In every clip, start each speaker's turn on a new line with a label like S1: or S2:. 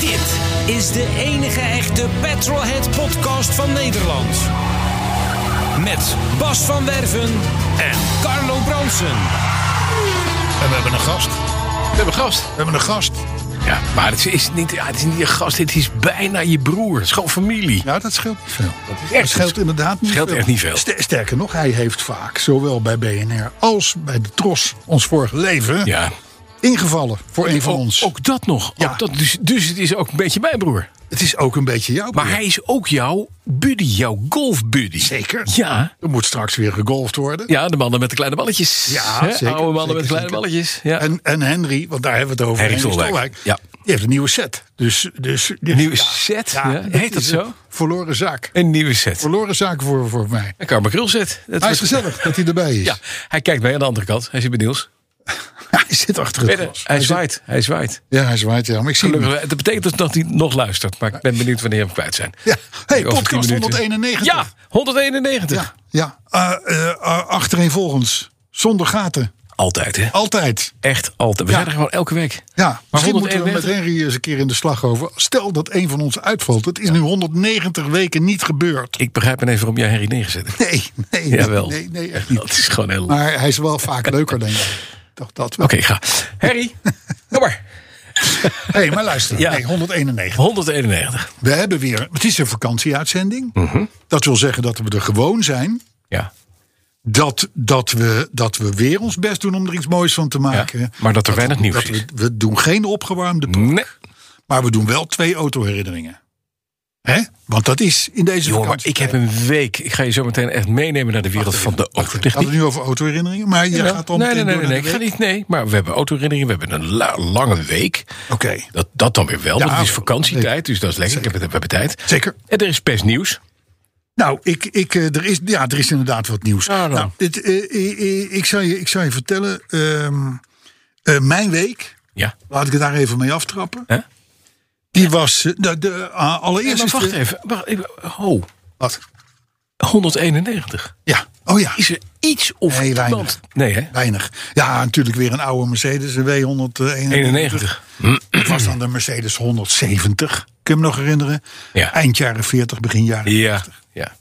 S1: Dit is de enige echte Petrolhead podcast van Nederland. Met Bas van Werven en Carlo Bronsen.
S2: En we hebben een gast. We hebben een gast. We hebben een gast.
S3: Ja, maar het is niet, ja, het is niet je gast, dit is bijna je broer. Het is gewoon familie.
S2: Nou, dat scheelt niet veel. Dat,
S3: echt-
S2: scheelt inderdaad niet
S3: scheelt
S2: veel.
S3: echt niet veel.
S2: Ster- Sterker nog, hij heeft vaak, zowel bij BNR als bij de Tros, ons vorige leven,
S3: Ja.
S2: ingevallen voor een van
S3: ook,
S2: ons.
S3: Ook dat nog.
S2: Ja.
S3: Ook dat, dus, dus het is ook een beetje mijn broer.
S2: het is ook een beetje jouw
S3: Maar
S2: broer.
S3: hij is ook jouw buddy, jouw golfbuddy.
S2: Zeker.
S3: Ja.
S2: Er moet straks weer gegolfd worden.
S3: Ja, de mannen met de kleine balletjes.
S2: Ja,
S3: Hè,
S2: zeker,
S3: Oude mannen
S2: zeker,
S3: met de kleine
S2: zeker.
S3: balletjes. Ja.
S2: En, en Henry, want daar hebben we het over.
S3: Henry Stolwijk. Ja.
S2: Die heeft een nieuwe set. Dus, dus, dus-
S3: Een nieuwe set? Ja, heet dat
S2: is
S3: zo?
S2: een Verloren zaak.
S3: Een nieuwe set.
S2: Verloren zaak voor, voor mij.
S3: En Karma Krul zit. Dat
S2: Hij is
S3: wordt-
S2: gezellig dat hij erbij is.
S3: Ja, hij kijkt mee aan de andere kant. Hij zit bij Niels.
S2: Hij zit achter het
S3: Verder,
S2: glas.
S3: Hij
S2: zit-
S3: zwaait. Hij zwaait.
S2: Ja, hij zwaait. Ja, maar ik zie hem.
S3: Gelukkig, dat betekent dus dat hij nog luistert. Maar ik ben benieuwd wanneer we hem kwijt zijn.
S2: Ja. Hey,
S3: Over 10
S2: podcast
S3: minuten.
S2: 191.
S3: Ja, 191.
S2: Ja, ja. Eh, eh, eh, achtereenvolgens. Zonder gaten.
S3: Altijd, hè?
S2: Altijd.
S3: Echt altijd. We
S2: Oh. Ja.
S3: zijn er gewoon elke week.
S2: Ja, misschien
S3: 191?
S2: moeten we met Henry eens een keer in de slag over. Stel dat een van ons uitvalt. Het is nu 190 weken niet gebeurd.
S3: Ik begrijp me even waarom jij Henry neergezet hebt.
S2: Nee, nee,
S3: Jawel.
S2: nee, nee, echt niet.
S3: Dat is gewoon heel... Oké,
S2: Maar hij is wel vaak leuker dan jij. Toch dat wel.
S3: ga. Harry, kom maar.
S2: Hé, hey, maar luister.
S3: Ja.
S2: Nee, 191.
S3: 191.
S2: We hebben weer... Het is een vakantieuitzending.
S3: Mhm.
S2: Dat wil zeggen dat we er gewoon zijn.
S3: Ja.
S2: dat, dat, we, dat we weer ons best doen om er iets moois van te maken.
S3: Ja, maar dat er weinig
S2: we-
S3: nieuws
S2: dat
S3: is.
S2: We, we doen geen opgewarmde, pro-
S3: Nee.
S2: maar we doen wel twee autoherinneringen. Hè? Want dat is in deze
S3: Jongen, maar
S2: vakantie.
S3: ik heb een week. Ik ga je zo meteen echt meenemen naar de wereld van
S2: We
S3: de
S2: hadden
S3: autotechniek.
S2: het nu over autoherinneringen, maar je gaat dan
S3: nee,
S2: meteen door
S3: nee, nee, nee, nee,
S2: naar
S3: ik
S2: de
S3: ga
S2: week.
S3: niet. Nee, maar we hebben autoherinneringen. We hebben een la- lange week.
S2: Oké,
S3: Dat, dat dan weer wel,
S2: Ja,
S3: want het is vakantietijd. Dus dat is lekker. Ik heb, we hebben tijd.
S2: zeker.
S3: En er is best nieuws.
S2: Nou, ik, ik, eh, er, is, ja, er is inderdaad wat nieuws.
S3: Nou, dan.
S2: Nou, dit, eh, eh, eh, ik, zal je, ik zal je vertellen, ehm, eh, mijn week,
S3: Ja.
S2: laat ik het daar even mee aftrappen.
S3: Hè?
S2: Die was, eh, de, de, ah, allereerst
S3: maar
S2: is
S3: wacht
S2: de-
S3: even. Wacht even. Ho,
S2: Wat?
S3: 191.
S2: Ja, oh ja.
S3: Is er iets of
S2: Nee, weinig.
S3: iemand? Nee, hè?
S2: Weinig. Ja, natuurlijk weer een oude Mercedes, een W191.
S3: 91.
S2: Het was dan de Mercedes 170, kun je me nog herinneren?
S3: Ja.
S2: Eind jaren 40, begin jaren
S3: Ja. ja.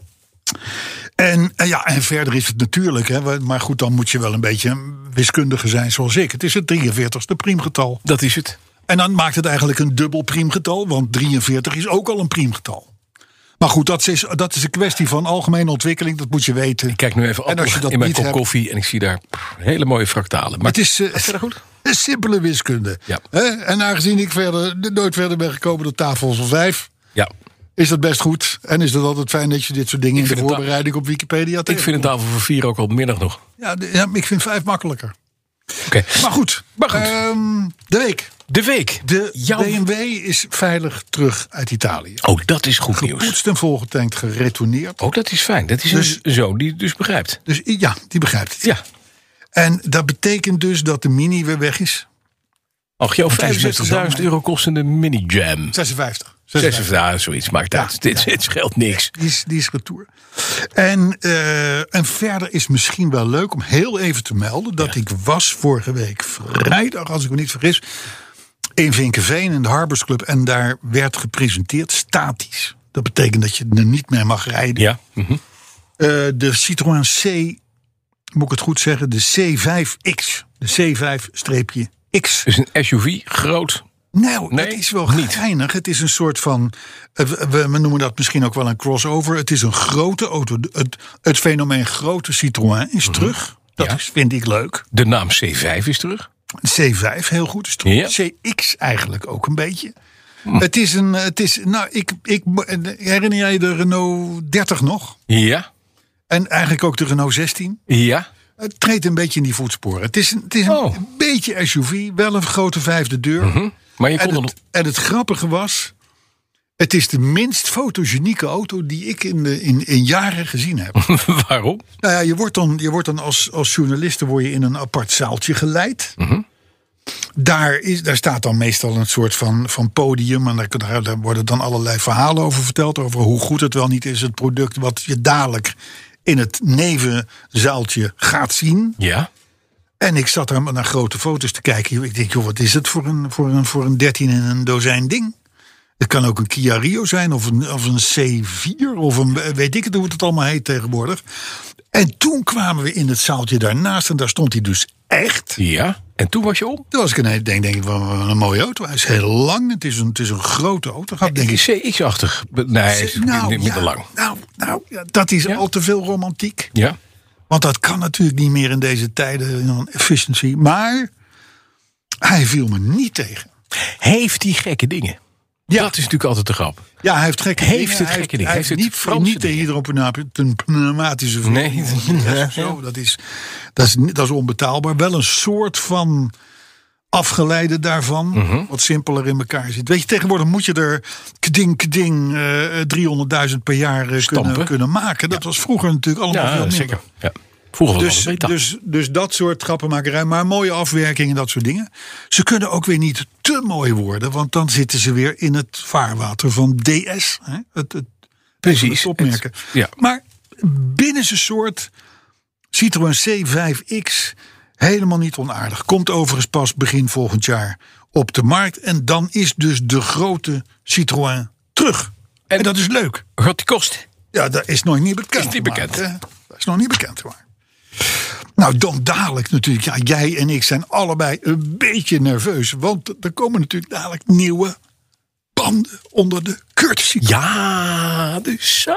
S2: En, eh, ja, en verder is het natuurlijk, hè, we- maar goed, dan moet je wel een beetje een wiskundige zijn zoals ik. Het is het 43ste priemgetal.
S3: Dat is het.
S2: En dan maakt het eigenlijk een dubbel priemgetal, want 43 is ook al een priemgetal. Maar goed, dat is, dat is een kwestie van algemene ontwikkeling, dat moet je weten.
S3: Ik kijk nu even
S2: En als je
S3: appel
S2: dat
S3: in mijn
S2: niet
S3: kop
S2: hebt-
S3: koffie en ik zie daar pff, hele mooie fractalen. Maar
S2: Het is eh,
S3: verder goed?
S2: een simpele wiskunde.
S3: Ja.
S2: Hè? En aangezien ik verder, nooit verder ben gekomen door tafel van vijf...
S3: Ja.
S2: is dat best goed. En is het altijd fijn dat je dit soort dingen in de
S3: vind het da-
S2: voorbereiding op Wikipedia
S3: Ik vind een
S2: tegenkomt.
S3: tafel voor vier ook al middag nog. Oké.
S2: Ja, de- ja, ik vind vijf makkelijker. Maar goed,
S3: Maar goed.
S2: ehm, de week.
S3: De week.
S2: De
S3: Jouw-
S2: BMW is veilig terug uit Italië.
S3: Oh, dat is goed nieuws.
S2: Gepoetst en volgetankt, geretourneerd.
S3: Oh, dat is fijn. Dat is
S2: Dus-
S3: een zoon die het dus begrijpt.
S2: Dus i- ja, die begrijpt het.
S3: Ja.
S2: En dat betekent dus dat de Mini weer weg is.
S3: Ach, jouw
S2: Het is met de
S3: 65.000
S2: zomer.
S3: euro kostende mini-jam.
S2: 56.
S3: 56, ja, zoiets maakt uit. Dit, dit scheelt niks.
S2: Die is, die is retour. En, eh, en verder is misschien wel leuk om heel even te melden... dat ik was vorige week vrijdag, als ik me niet vergis... in Vinkenveen in de Harbors Club. En daar werd gepresenteerd statisch. Dat betekent dat je er niet meer mag rijden.
S3: Ja. mhm.
S2: Eh, de Citroën C, moet ik het goed zeggen, de C5X. De C5-X.
S3: Dus een SUV, groot.
S2: Nou,
S3: Nee,
S2: dat is wel
S3: niet.
S2: geinig. Het is een soort van, eh, we, we- we noemen dat misschien ook wel een crossover. Het is een grote auto. De- Het, het fenomeen grote Citroën is terug. Dat
S3: Mhm. Ja.
S2: is, vind ik leuk.
S3: De naam C5 is terug.
S2: C5 heel goed is terug.
S3: Ja. Mhm.
S2: CX eigenlijk ook een beetje. Het is een. Het is, nou, ik, ik, eh, herinner jij de Renault 30 nog?
S3: Ja,
S2: En eigenlijk ook de Renault 16?
S3: ja.
S2: Het treedt een beetje in die voetsporen. Het is, een- het is een
S3: Oh. Mhm.
S2: beetje SUV, wel een grote vijfde deur.
S3: Maar je kon
S2: En
S3: er
S2: het, en het grappige was, het is de minst fotogenieke auto die ik in, de, in, in jaren gezien heb.
S3: nog... Waarom?
S2: nou ja, je wordt dan, je wordt dan als, als journalist dan word je in een apart zaaltje geleid. Daar, is, daar staat dan meestal een soort van, van podium. En daar, kun- daar worden dan allerlei verhalen over verteld. Over hoe goed het wel niet is, het product wat je dadelijk in het nevenzaaltje gaat zien.
S3: Ja.
S2: En ik zat daar maar naar grote foto's te kijken. Ik denk, joh, wat is het voor een, voor een, voor een 13 en een dozijn ding? Het kan ook een Kia Rio zijn, of een, of een C4, of een weet ik het hoe het allemaal heet tegenwoordig. En toen kwamen we in het zaaltje daarnaast en daar stond hij dus echt.
S3: Ja. En toen was je om?
S2: Toen was ik ineens, denk, denk ik, wat een mooie auto. Hij is heel lang, het is een, het is een grote auto. Gaat, denk ik,
S3: CX-achtig. Nee, is niet minder
S2: ja,
S3: lang.
S2: Nou, nou ja, dat is al te veel romantiek.
S3: Ja.
S2: Want dat kan natuurlijk niet meer in deze tijden in een efficiency. Maar hij viel me niet tegen.
S3: Heeft die gekke dingen. Ja. Dat is natuurlijk altijd de grap.
S2: Ja, hij heeft gekke
S3: Heeft
S2: dingen.
S3: het
S2: hij
S3: gekke dingen?
S2: Hij
S3: Heeft
S2: heeft
S3: het
S2: niet,
S3: Franse
S2: niet de
S3: dingen?
S2: hydropneumatische
S3: Nee.
S2: Nee. Zo, dat, is, dat, is, niet- dat is onbetaalbaar. Wel een soort van afgeleide daarvan.
S3: Mhm.
S2: Wat simpeler in elkaar zit. Weet je, tegenwoordig moet je er kding kding eh, 300.000 per jaar eh, kunnen,
S3: Stampen.
S2: kunnen maken. Dat was vroeger natuurlijk allemaal veel
S3: Ja,
S2: minder.
S3: zeker. Ja. Vroeger was
S2: Dus,
S3: het beter.
S2: dus, dus dat soort grappenmakerij, maar mooie afwerkingen, dat soort dingen. Ze kunnen ook weer niet te mooi worden, want dan zitten ze weer in het vaarwater van DS. Hè? Het, het,
S3: Precies.
S2: het opmerken.
S3: Het- ja.
S2: Maar binnen zijn soort Citroën C5X helemaal niet onaardig. Komt overigens pas begin volgend jaar op de markt. En dan is dus de grote Citroën terug. En, dat is leuk.
S3: Gaat dus- die kosten?
S2: Ja, dat is nog niet bekend.
S3: Is niet
S2: gemaakt,
S3: bekend.
S2: hè? Dat is nog niet bekend maar. Nou, dan dadelijk natuurlijk. Ja, jij en ik zijn allebei een beetje nerveus. Want er komen natuurlijk dadelijk nieuwe banden onder de courtesy.
S3: Ja, dus zo.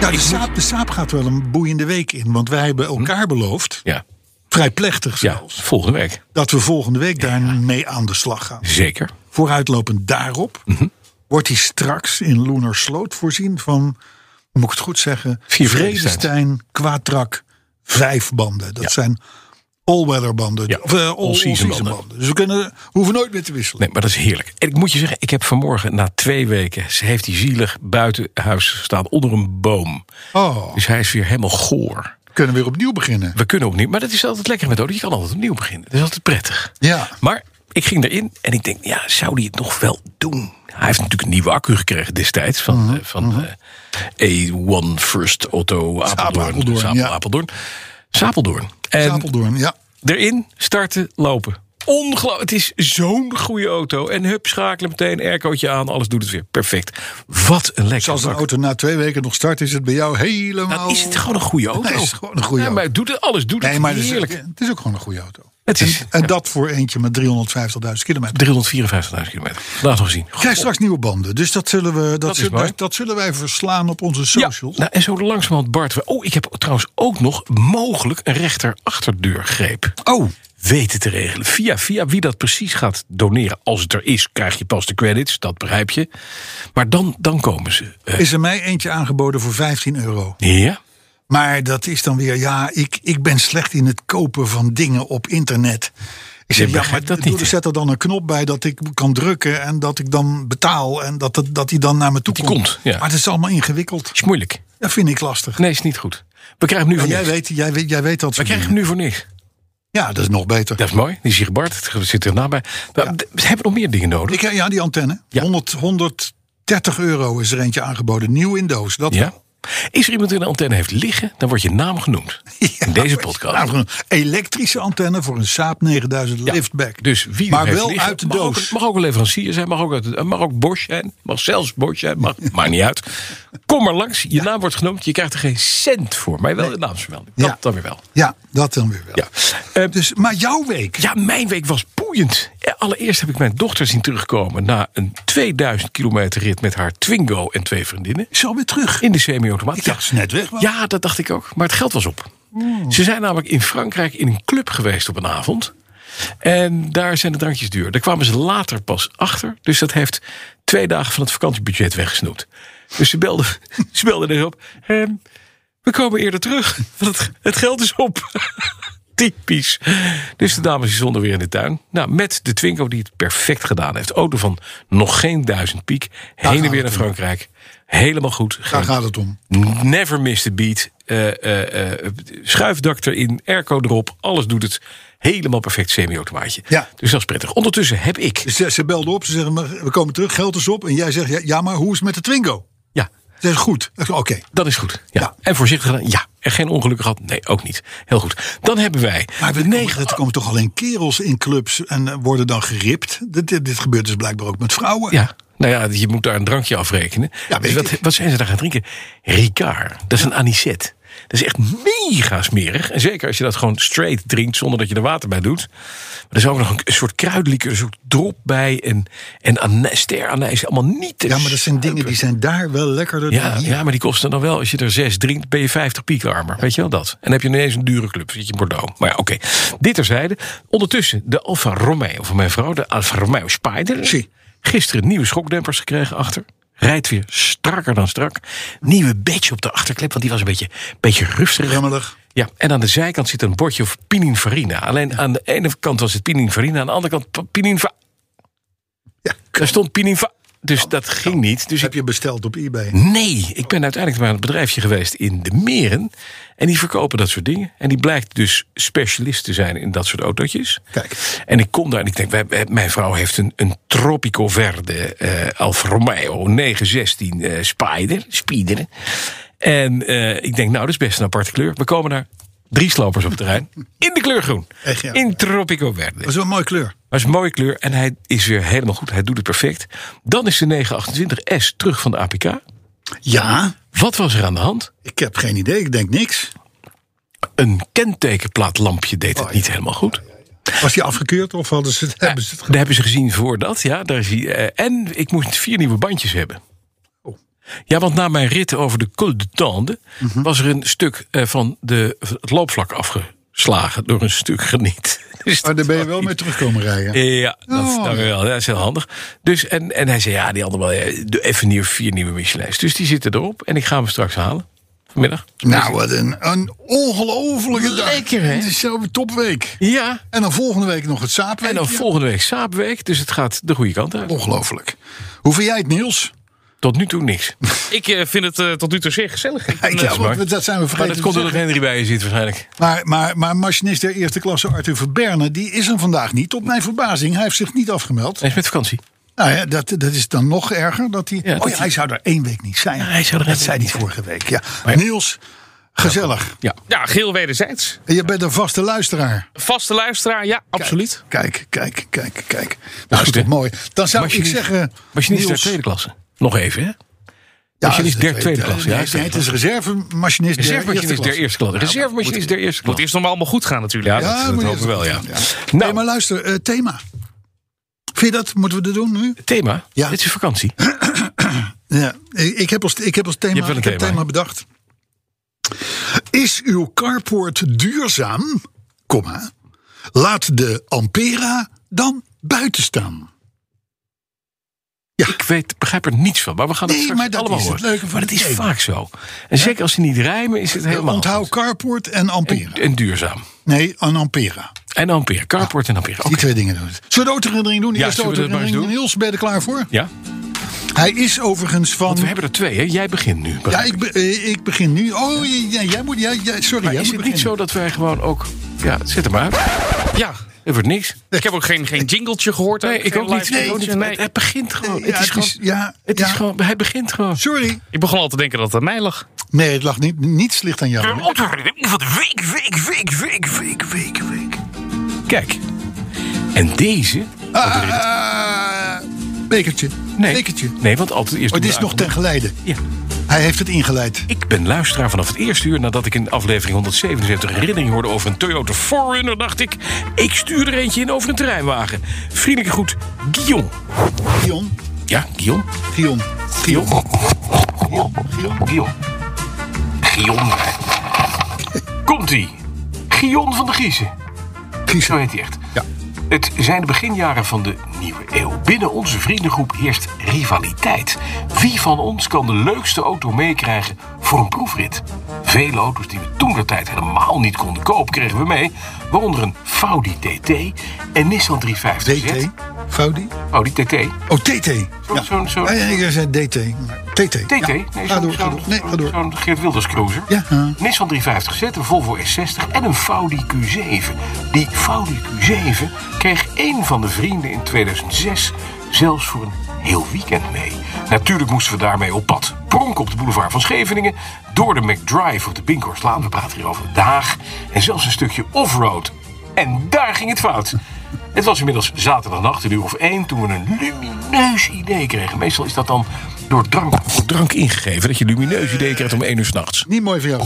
S2: Ja, de, saap, de Saap gaat wel een boeiende week in. Want wij hebben elkaar beloofd,
S3: Ja.
S2: vrij plechtig
S3: ja,
S2: zelfs...
S3: volgende week.
S2: dat we volgende week daarmee aan de slag gaan.
S3: Zeker.
S2: Vooruitlopend daarop
S3: Mhm.
S2: wordt hij straks in Loenersloot voorzien van, moet ik het goed zeggen,
S3: Vier
S2: Vredestein Quatrak vijf banden. Dat zijn all-weather banden,
S3: Ja,
S2: of eh, all-
S3: all-season
S2: all-season
S3: banden.
S2: banden. Dus we kunnen, hoeven nooit meer te wisselen.
S3: Nee, maar dat is heerlijk. En ik moet je zeggen, ik heb vanmorgen na twee weken... ze heeft die zielig buiten huis gestaan onder een boom.
S2: Oh,
S3: Dus hij is weer helemaal goor.
S2: we kunnen weer opnieuw beginnen.
S3: We kunnen opnieuw, maar dat is altijd lekker met auto. Je kan altijd opnieuw beginnen. Dat is altijd prettig.
S2: Ja.
S3: Maar ik ging erin en ik denk, ja, zou die het nog wel doen? Hij heeft natuurlijk een nieuwe accu gekregen destijds van,
S2: Mhm,
S3: eh, van eh, A1 First Auto Apeldoorn.
S2: Apeldoorn,
S3: Sapel-
S2: ja.
S3: Apeldoorn. Sapeldoorn. En
S2: Apeldoorn, ja.
S3: erin, starten, lopen. Ongelooflijk. Het is zo'n goede auto. En hup, schakelen meteen, aircootje aan, alles doet het weer. Perfect. Wat een lekker
S2: Als een auto na twee weken nog start, is het bij jou helemaal...
S3: Dan Nou, is het gewoon een goede auto.
S2: is gewoon een goede
S3: ja, Maar het doet het, alles doet het.
S2: nee, maar dus- het is,
S3: heerlijk.
S2: het is ook gewoon een goede auto.
S3: Het is-
S2: en en dat voor eentje met 350.000 kilometer.
S3: 354.000 kilometer. Laten we zien.
S2: Ik Krijg straks nieuwe banden. Dus dat zullen, we, dat,
S3: Dat is
S2: zullen,
S3: mooi.
S2: dat, dat zullen wij verslaan op onze socials.
S3: nou, en zo langzamerhand Bart. we- Oh, ik heb trouwens ook nog mogelijk een rechter achterdeurgreep
S2: Oh,
S3: weten te regelen. Via, via wie dat precies gaat doneren. Als het er is, krijg je pas de credits. Dat begrijp je. Maar dan, dan komen ze. Eh,
S2: is er mij eentje aangeboden voor 15 euro.
S3: ja?
S2: Maar dat is dan weer, ja, ik, ik ben slecht in het kopen van dingen op internet. Ik zeg, ja, maar
S3: begrijpt dat
S2: doe-
S3: niet, hè?
S2: zet er dan een knop bij dat ik kan drukken en dat ik dan betaal en dat, het, dat die dan naar me toe
S3: die
S2: komt.
S3: komt, ja.
S2: Maar het is allemaal ingewikkeld.
S3: Is moeilijk.
S2: Dat vind ik lastig.
S3: Nee, is niet goed. We krijgen hem nu voor
S2: jij,
S3: niks.
S2: weet, jij, weet, jij weet dat
S3: We
S2: soort
S3: krijgen
S2: dingen.
S3: hem nu voor niks.
S2: Ja, dat is nog beter.
S3: Dat is mooi. Die ziet Bart. Het zit er nabij. Nou, d- We hebben nog meer dingen nodig.
S2: Ik, ja, die antenne.
S3: Ja.
S2: 100, 130 euro is er eentje aangeboden. Nieuw in doos. Dat
S3: Ja? Is er iemand die een antenne heeft liggen, dan wordt je naam genoemd. in deze podcast.
S2: Nou, een elektrische antenne voor een Saab 9000 liftback.
S3: Dus wie
S2: maar
S3: heeft
S2: wel
S3: liggen,
S2: uit de
S3: mag ook-
S2: doos.
S3: mag ook een leverancier zijn, mag ook, uit, de- mag ook Bosch zijn, mag zelfs Bosch zijn, mag, maakt niet uit. Kom maar langs, je naam wordt genoemd, je krijgt er geen cent voor, maar wel de naamsvermelding. Dat
S2: Ja.
S3: dan weer wel.
S2: ja, dat dan weer wel.
S3: Ja. Eh,
S2: Dus, maar jouw week.
S3: ja, mijn week was poeh, boeiend. Allereerst heb ik mijn dochter zien terugkomen na een 2000 kilometer rit met haar Twingo en twee vriendinnen.
S2: Zo weer terug.
S3: In de semi-automaat.
S2: Ik dacht ze net weg was.
S3: Ja, dat dacht ik ook. Maar het geld was op.
S2: Hmm.
S3: Ze zijn namelijk in Frankrijk in een club geweest op een avond. En daar zijn de drankjes duur. Daar kwamen ze later pas achter. Dus dat heeft twee dagen van het vakantiebudget weggesnoept. Dus ze belden, ze belden dus op. "Ehm, we komen eerder terug. Want het, het geld is op. Typisch. Dus de dames die stonden weer in de tuin. Nou, met de Twingo die het perfect gedaan heeft. Auto van nog geen duizend piek. Heen en
S2: gaat
S3: weer naar
S2: het
S3: Frankrijk. Helemaal goed.
S2: Daar
S3: Geen
S2: gaat het om.
S3: Never miss the beat. Eh, eh, eh, schuifdak erin, airco erop. Alles doet het helemaal perfect semi-automaatje.
S2: Ja.
S3: Dus dat is prettig. Ondertussen heb ik...
S2: Dus Ze, ze belden op, ze zeggen, maar we komen terug, geld is op. En jij zegt, ja, ja, maar hoe is het met de Twingo?
S3: Ja,
S2: Ze zeggen, goed. Ik zeg, Oké,
S3: dat is goed. Ja.
S2: Ja.
S3: En voorzichtig gedaan. Ja. En geen ongeluk gehad? Nee, ook niet. Heel goed. Dan hebben wij...
S2: maar we
S3: de
S2: negen, er komen toch alleen kerels in clubs en eh, worden dan geript. Dit, dit, dit gebeurt dus blijkbaar ook met vrouwen.
S3: Ja, nou ja, je moet daar een drankje afrekenen.
S2: Ja,
S3: dus
S2: weet
S3: wat,
S2: ik.
S3: wat zijn ze daar gaan drinken? Ricard, dat is een anisette. Dat is echt mega smerig. En zeker als je dat gewoon straight drinkt zonder dat je er water bij doet. Maar er is ook nog een, een soort kruidlikeur, een soort drop bij. En, en anijs, steranijs, allemaal niet te
S2: Ja, maar dat zijn dingen die zijn daar wel lekkerder
S3: ja,
S2: dan hier.
S3: ja, maar die kosten dan wel. Als je er zes drinkt, ben je 50 piek armer. Weet je wel dat? En dan heb je ineens een dure club. Zit je in Bordeaux. Maar ja, oké. Dit terzijde. Ondertussen de Alfa Romeo van mijn vrouw. De Alfa Romeo Spider.
S2: Zie.
S3: Gisteren nieuwe schokdempers gekregen achter. Rijdt weer strakker dan strak. Nieuwe badge op de achterklep, want die was een beetje, beetje rustig.
S2: Remmelig.
S3: Ja, en aan de zijkant zit een bordje of pininfarina. Alleen aan de ene kant was het pininfarina, aan de andere kant pininfa.
S2: Ja. Oh, nou.
S3: Daar stond pininfa. Dus dat ging niet. Dus ik
S2: Heb je besteld op eBay?
S3: Nee, ik ben uiteindelijk maar aan het bedrijfje geweest in de Meren. En die verkopen dat soort dingen. En die blijkt dus specialist te zijn in dat soort autootjes.
S2: Kijk.
S3: En ik kom daar en ik denk, wij- wij- mijn vrouw heeft een, een Tropico Verde eh Alfa Romeo 916 eh Spider. Spider. En eh, ik denk, nou, dat is best een aparte kleur. We komen daar. Drie slopers op het terrein. In de kleur groen.
S2: Echt, ja.
S3: In Tropico Verde.
S2: Dat is wel een mooie kleur.
S3: Maar het is een mooie kleur en hij is weer helemaal goed. Hij doet het perfect. Dan is de 928S terug van de APK.
S2: Ja,
S3: Wat was er aan de hand?
S2: ik heb geen idee. Ik denk niks.
S3: Een kentekenplaatlampje deed het niet helemaal goed.
S2: Was die afgekeurd of hadden ze het, Oh, hebben ze het ge-
S3: Daar hebben ze gezien voor dat, ja. Daar is hij, eh, en ik moest vier nieuwe bandjes hebben.
S2: Oh.
S3: Ja, want na mijn rit over de Col de Tende...
S2: Mhm.
S3: was er een stuk eh, van de, van het loopvlak afgeslagen door een stuk geniet. Dus
S2: Maar Oh, daar ben je wel
S3: dat-
S2: mee terugkomen rijden.
S3: Ja, dat,
S2: Oh.
S3: dat wel. Dat is heel handig. Dus, en, en hij zei, ja, die andere wel. eh, doe Even nieuw, vier nieuwe Michelin's. Dus die zitten erop en ik ga hem straks halen. Vanmiddag.
S2: Nou, wat een, een ongelofelijke dag.
S3: Lekker, hè?
S2: Het is zo'n topweek.
S3: Ja,
S2: En dan volgende week nog het zaapweek.
S3: en dan volgende week Saapweek. Dus het gaat de goede kant uit.
S2: Ongelooflijk. Hoe vind jij het, Niels?
S3: Tot nu toe niks.
S4: Ik eh, vind het eh, tot nu toe zeer gezellig. Ik ben,
S2: Kijk,
S4: eh,
S2: ja, want
S3: maar-
S2: dat zijn we
S3: Maar
S2: vergeten.
S3: dat komt
S2: te
S3: omdat
S2: zeggen.
S3: Henry bij je zit waarschijnlijk.
S2: maar, maar, maar machinist der eerste klasse Arthur Verberne, die is er vandaag niet. Tot mijn verbazing, hij heeft zich niet afgemeld.
S3: Hij is met vakantie.
S2: Nou ja, dat, dat is dan nog erger. Dat hij,
S3: Ja,
S2: oh
S3: dat
S2: ja,
S3: hij-
S2: hij zou er één week niet zijn.
S3: hij zou er
S2: dat
S3: één
S2: zei
S3: week
S2: hij
S3: niet
S2: vorige week. Ja. Niels, gezellig.
S3: Ja.
S4: ja, geel wederzijds.
S2: En Je bent een vaste luisteraar.
S4: Vaste luisteraar, ja, absoluut.
S2: Kijk, kijk, kijk, kijk. Dat is
S3: Nou, goed,
S2: toch
S3: hè?
S2: mooi. Dan zou ik
S3: Machinist-
S2: zeggen...
S3: Machinist der
S2: Niels,
S3: tweede klasse. Nog even, hè?
S2: Ja,
S3: Machinist
S2: het is
S3: der tweede klasse. Ja,
S2: nee,
S3: is dat
S2: nee, het is reservemachinist der eerste
S3: Reservemachinist der
S2: klasse.
S3: eerste klasse. Reservemachinist der eerste
S4: Moet
S3: klasse.
S4: eerst nog maar allemaal goed gaan natuurlijk.
S3: Ja, dat, dat
S2: moet je
S3: hopen we wel, ja.
S2: eerst- Nee, maar
S3: Nou,
S2: luister, eh, thema. Vind je dat? Moeten we dat doen nu?
S3: thema.
S2: Ja.
S3: Dit is vakantie.
S2: Ja, ik ik heb als, ik heb als thema,
S3: hebt wel een
S2: ik heb
S3: thema,
S2: thema bedacht. Is uw carport duurzaam? Komma, laat de Ampera dan buiten staan.
S3: Ik weet, begrijp er niets van. Maar we gaan het
S2: Nee,
S3: straks
S2: maar dat
S3: allemaal
S2: is het
S3: horen.
S2: leuke van
S3: maar het
S2: het
S3: is
S2: thema.
S3: vaak zo. En zeker als ze niet rijmen, is het helemaal...
S2: Onthoud carport en
S3: en,
S2: Ampera.
S3: en duurzaam.
S2: nee, een Ampera.
S3: En ampère. Carport en ampère.
S2: Die
S3: Oké.
S2: twee dingen doen het. Zullen we de autoherinnering doen?
S3: Ja,
S2: Eerst de
S3: zullen we dat maar eens
S2: autoherinnering. Niels, ben je er klaar voor?
S3: Ja?
S2: Hij is overigens van...
S3: Want we hebben er twee, hè? Jij begint nu.
S2: Ja, ik, be- eh, ik begin nu. Oh, j- ja, jij moet... Jij, jij- sorry,
S3: Maar
S2: jij
S3: is
S2: moet
S3: het niet
S2: beginnen.
S3: zo dat wij gewoon ook... Ja, zet hem uit.
S4: Ja.
S3: Er wordt niks.
S4: Ik heb ook geen, geen jingletje gehoord.
S3: Nee, ik
S4: geen
S3: ook niet. Ik
S4: live
S3: ook
S4: jingletje,
S3: niet.
S4: nee.
S3: Het begint gewoon.
S2: Ja,
S3: Het is gewoon...
S2: ja,
S3: Het
S2: ja.
S3: is gewoon, hij begint gewoon.
S2: Sorry.
S4: Ik begon al te denken dat het aan mij
S3: Oh,
S4: lag.
S2: Nee, het lag niet. Niets ligt aan jou.
S1: Van de week, week, week, week, week, week, week.
S3: Kijk. En deze...
S2: Ah, bekertje.
S3: Nee,
S2: Bekertje.
S3: nee want altijd eerst...
S2: Oh, dit
S3: doen
S2: is
S3: we
S2: nog ten geleide.
S3: Ja.
S2: Hij heeft het ingeleid.
S3: Ik ben luisteraar vanaf het eerste uur nadat ik in aflevering 177 een herinnering hoorde over een Toyota 4Runner. Dacht ik, ik stuur er eentje in over een terreinwagen. Vriendelijke groet, Guillaume.
S2: Gion.
S3: Ja, Guillaume?
S2: Gion.
S3: Guillaume? Guillaume? Guillaume. Guillaume. Komt-ie. Guillaume van de Giezen. Zo heet hij echt.
S2: Ja.
S3: Het zijn de beginjaren van de nieuwe eeuw. Binnen onze vriendengroep heerst rivaliteit. Wie van ons kan de leukste auto meekrijgen voor een proefrit? Vele auto's die we toen de tijd helemaal niet konden kopen, kregen we mee. Waaronder een Audi DT en Nissan 350Z.
S2: DT. Foudi.
S3: Audi DT.
S2: Oh, TT. Ja.
S3: zo'n- zo'n-
S2: Ah, ja, ik zei DT. maar TT.
S3: TT?
S2: Ja.
S3: Nee,
S2: ga
S3: zo'n
S2: door, ga door. Nee, ga door.
S3: zo'n Geert Wilders cruiser.
S2: Ja.
S3: Nissan 350Z, een Volvo S60 en een Audi Q7. Die Audi Q7 kreeg één van de vrienden in 2006 zelfs voor een heel weekend mee. Natuurlijk moesten we daarmee op pad. Pronk op de boulevard van Scheveningen, door de McDrive op de Binkhorstlaan. We praten hier over de Haag. En zelfs een stukje offroad. En daar ging het fout. Het was inmiddels zaterdagnacht, een uur of één, toen we een lumineus idee kregen. Meestal is dat dan door drank, drank ingegeven, dat je een lumineus idee krijgt om één uur s'nachts.
S2: Niet mooi voor jou.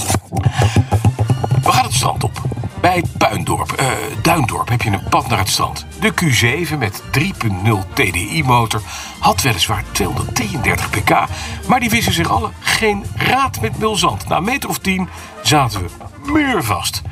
S3: We gaan het strand op. Bij het Puindorp, eh, Duindorp heb je een pad naar het strand. De Q7 met 3.0 TDI-motor had weliswaar 233 pk... maar die wisten zich alle geen raad met mulzand. Na een meter of tien zaten we muurvast.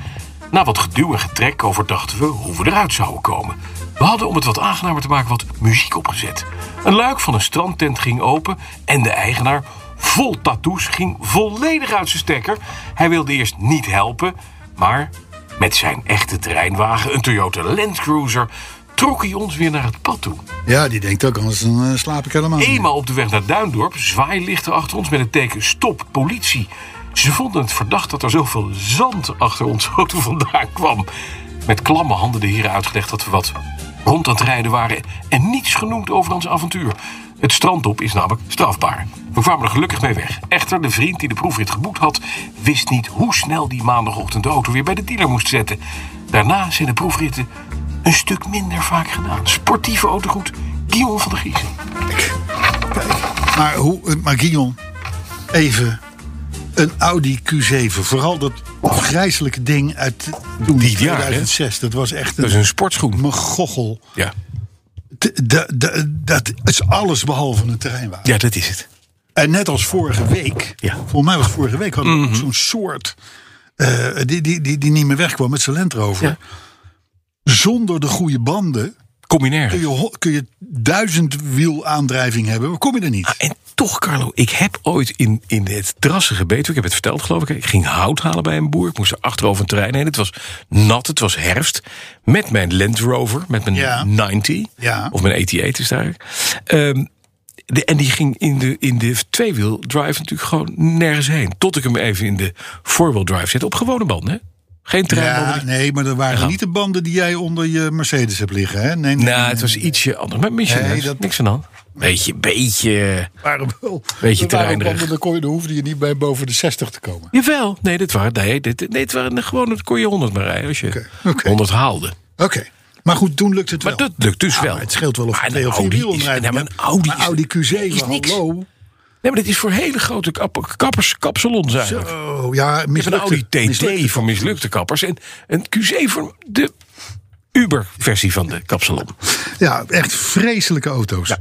S3: Na wat geduw en getrek overdachten we hoe we eruit zouden komen. We hadden om het wat aangenamer te maken wat muziek opgezet. Een luik van een strandtent ging open en de eigenaar vol tattoos, ging volledig uit zijn stekker. Hij wilde eerst niet helpen, maar met zijn echte terreinwagen, een Toyota Land Cruiser, trok hij ons weer naar het pad toe.
S2: Ja, die denkt ook, anders dan, eh, slaap ik helemaal niet.
S3: Eenmaal op de weg naar Duindorp, zwaailichten achter ons met het teken stop, politie. Ze vonden het verdacht dat er zoveel zand achter ons auto vandaan kwam. Met klamme handen de heren uitgelegd dat we wat rond aan het rijden waren en niets genoemd over ons avontuur. Het strand op is namelijk strafbaar. We kwamen er gelukkig mee weg. Echter, de vriend die de proefrit geboekt had, wist niet hoe snel die maandagochtend de auto weer bij de dealer moest zetten. Daarna zijn de proefritten een stuk minder vaak gedaan. Sportieve autogoed, Guillaume van der Giezen.
S2: Maar, hoe, eh, maar Guillaume, even een Audi Q7. Vooral dat afgrijzelijke ding uit toen,
S3: Die jaar, hè?
S2: 2006. dat was echt
S3: Dat is een sportschoen.
S2: megochel.
S3: Ja,
S2: D- d- d- Dat is alles behalve een terreinwagen.
S3: ja dat is het.
S2: En net als vorige week,
S3: Ja.
S2: volgens mij was het vorige week, hadden we ook zo'n soort eh, die, die, die, die niet meer wegkwam met zijn Land Rover.
S3: Ja.
S2: Zonder de goede banden kun
S3: Combinair.
S2: je, ho- kun je duizend wielaandrijving hebben, maar kom je er niet.
S3: En toch, Carlo, ik heb ooit in, in het drassige Betuwe, ik heb het verteld geloof ik, ik ging hout halen bij een boer. Ik moest er achterover een terrein heen. Het was nat, het was herfst. Met mijn Land Rover, met mijn
S2: Ja.
S3: 90.
S2: Ja.
S3: Of mijn 88 is daar. de, en die ging in de, in de tweewiel drive natuurlijk gewoon nergens heen. Tot ik hem even in de four-wheel drive zette. Op gewone banden, hè? Geen terrein.
S2: Ja, nee, maar dat waren niet de banden die jij onder je Mercedes hebt liggen. Hè? Nee, nee,
S3: Nou,
S2: nee,
S3: het
S2: nee,
S3: was
S2: nee.
S3: ietsje anders. Maar misschien
S2: Nee,
S3: niks-
S2: dat-
S3: niks aan de hand. Beetje, beetje...
S2: waren wel.
S3: Beetje
S2: dat waren
S3: terreinerig.
S2: banden, dan, kon je, dan hoefde je niet bij boven de 60 te komen.
S3: Jawel, nee, dit waren, nee, dit, nee, het waren gewoon, dat kon je 100 maar rijden als je
S2: Oké, oké.
S3: 100 haalde.
S2: Oké, maar goed, toen lukt het
S3: Maar
S2: wel.
S3: dat lukt dus
S2: Ja,
S3: wel.
S2: maar het scheelt wel of
S3: Maar
S2: je
S3: een
S2: twee of vier
S3: Audi is-
S2: wielomrijdingen
S3: nee, maar een
S2: hebt.
S3: Audi
S2: Maar
S3: is-
S2: Audi Q7,
S3: is niks.
S2: hallo.
S3: Nee, maar dit is voor hele grote kap, kappers, kapsalons eigenlijk. Je
S2: Oh, ja,
S3: hebt een
S2: mislukte.
S3: Audi TT
S2: Mislukte.
S3: voor mislukte kappers en een Q7 voor de Uber-versie van de kapsalon.
S2: Ja, echt vreselijke auto's.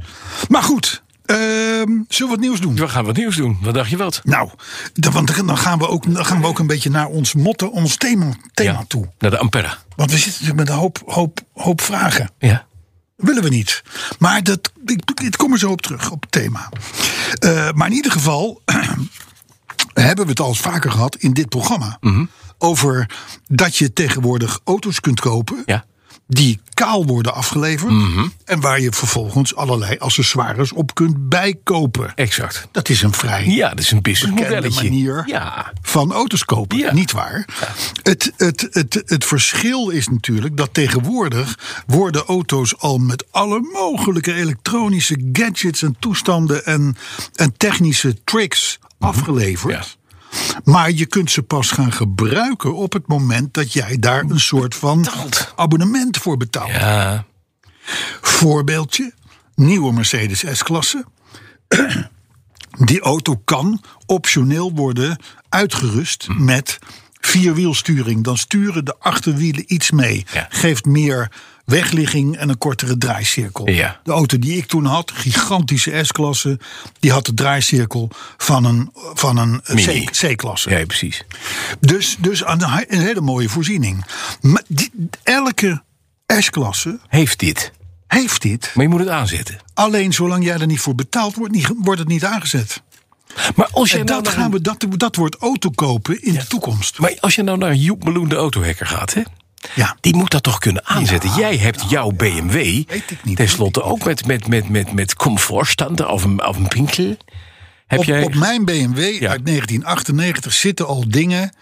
S2: Maar goed, ehm, zullen we wat nieuws doen?
S3: We gaan wat nieuws doen. Wat dacht je wat?
S2: Nou, dan, want dan gaan, we ook, dan gaan we ook een beetje naar ons motto, ons thema, thema
S3: Ja,
S2: toe.
S3: Naar de Ampera.
S2: Want we zitten natuurlijk met een hoop, hoop, hoop vragen.
S3: Ja.
S2: Willen we niet. Maar dat, ik, ik kom er zo op terug, op het thema. Eh, maar in ieder geval hebben we het al eens vaker gehad in dit programma. Over dat je tegenwoordig auto's kunt kopen.
S3: Ja.
S2: Die kaal worden afgeleverd. En waar je vervolgens allerlei accessoires op kunt bijkopen.
S3: Exact.
S2: Dat is een vrij
S3: Ja, dat is een businessmodelletje.
S2: Bekende manier.
S3: Ja.
S2: van auto's kopen,
S3: Ja.
S2: niet waar? Het, het, het, het verschil is natuurlijk dat tegenwoordig worden auto's al met alle mogelijke elektronische gadgets en toestanden en, en technische tricks afgeleverd. Maar je kunt ze pas gaan gebruiken op het moment dat jij daar een soort van abonnement voor betaalt.
S3: Ja.
S2: Voorbeeldje: nieuwe Mercedes S-klasse. Die auto kan optioneel worden uitgerust
S3: Hm.
S2: met vierwielsturing. Dan sturen de achterwielen iets mee.
S3: Ja.
S2: Geeft meer wegligging en een kortere draaicirkel.
S3: Ja.
S2: De auto die ik toen had, gigantische S-klasse, die had de draaicirkel van een, van een eh,
S3: Mini.
S2: C- C-klasse.
S3: Ja, precies.
S2: Dus, dus aan de hi- een hele mooie voorziening. Maar die- elke S-klasse
S3: Heeft dit.
S2: heeft dit.
S3: Maar je moet het aanzetten.
S2: Alleen zolang jij er niet voor betaalt, wordt, niet, wordt het niet aangezet.
S3: Maar als je
S2: En
S3: nou
S2: dat,
S3: naar
S2: gaan
S3: een-
S2: we, dat, dat wordt auto kopen in de toekomst.
S3: Maar als je nou naar Joep Meloen, de autohacker, gaat, hè?
S2: Ja.
S3: Die moet dat toch kunnen aanzetten. Jij hebt jouw BMW.
S2: Weet ik niet,
S3: Ten slotte ook met, met, met, met, met comfortstanden of een, of een pinkel. Heb
S2: Op,
S3: jij.
S2: op mijn BMW
S3: Ja.
S2: uit 1998 zitten al dingen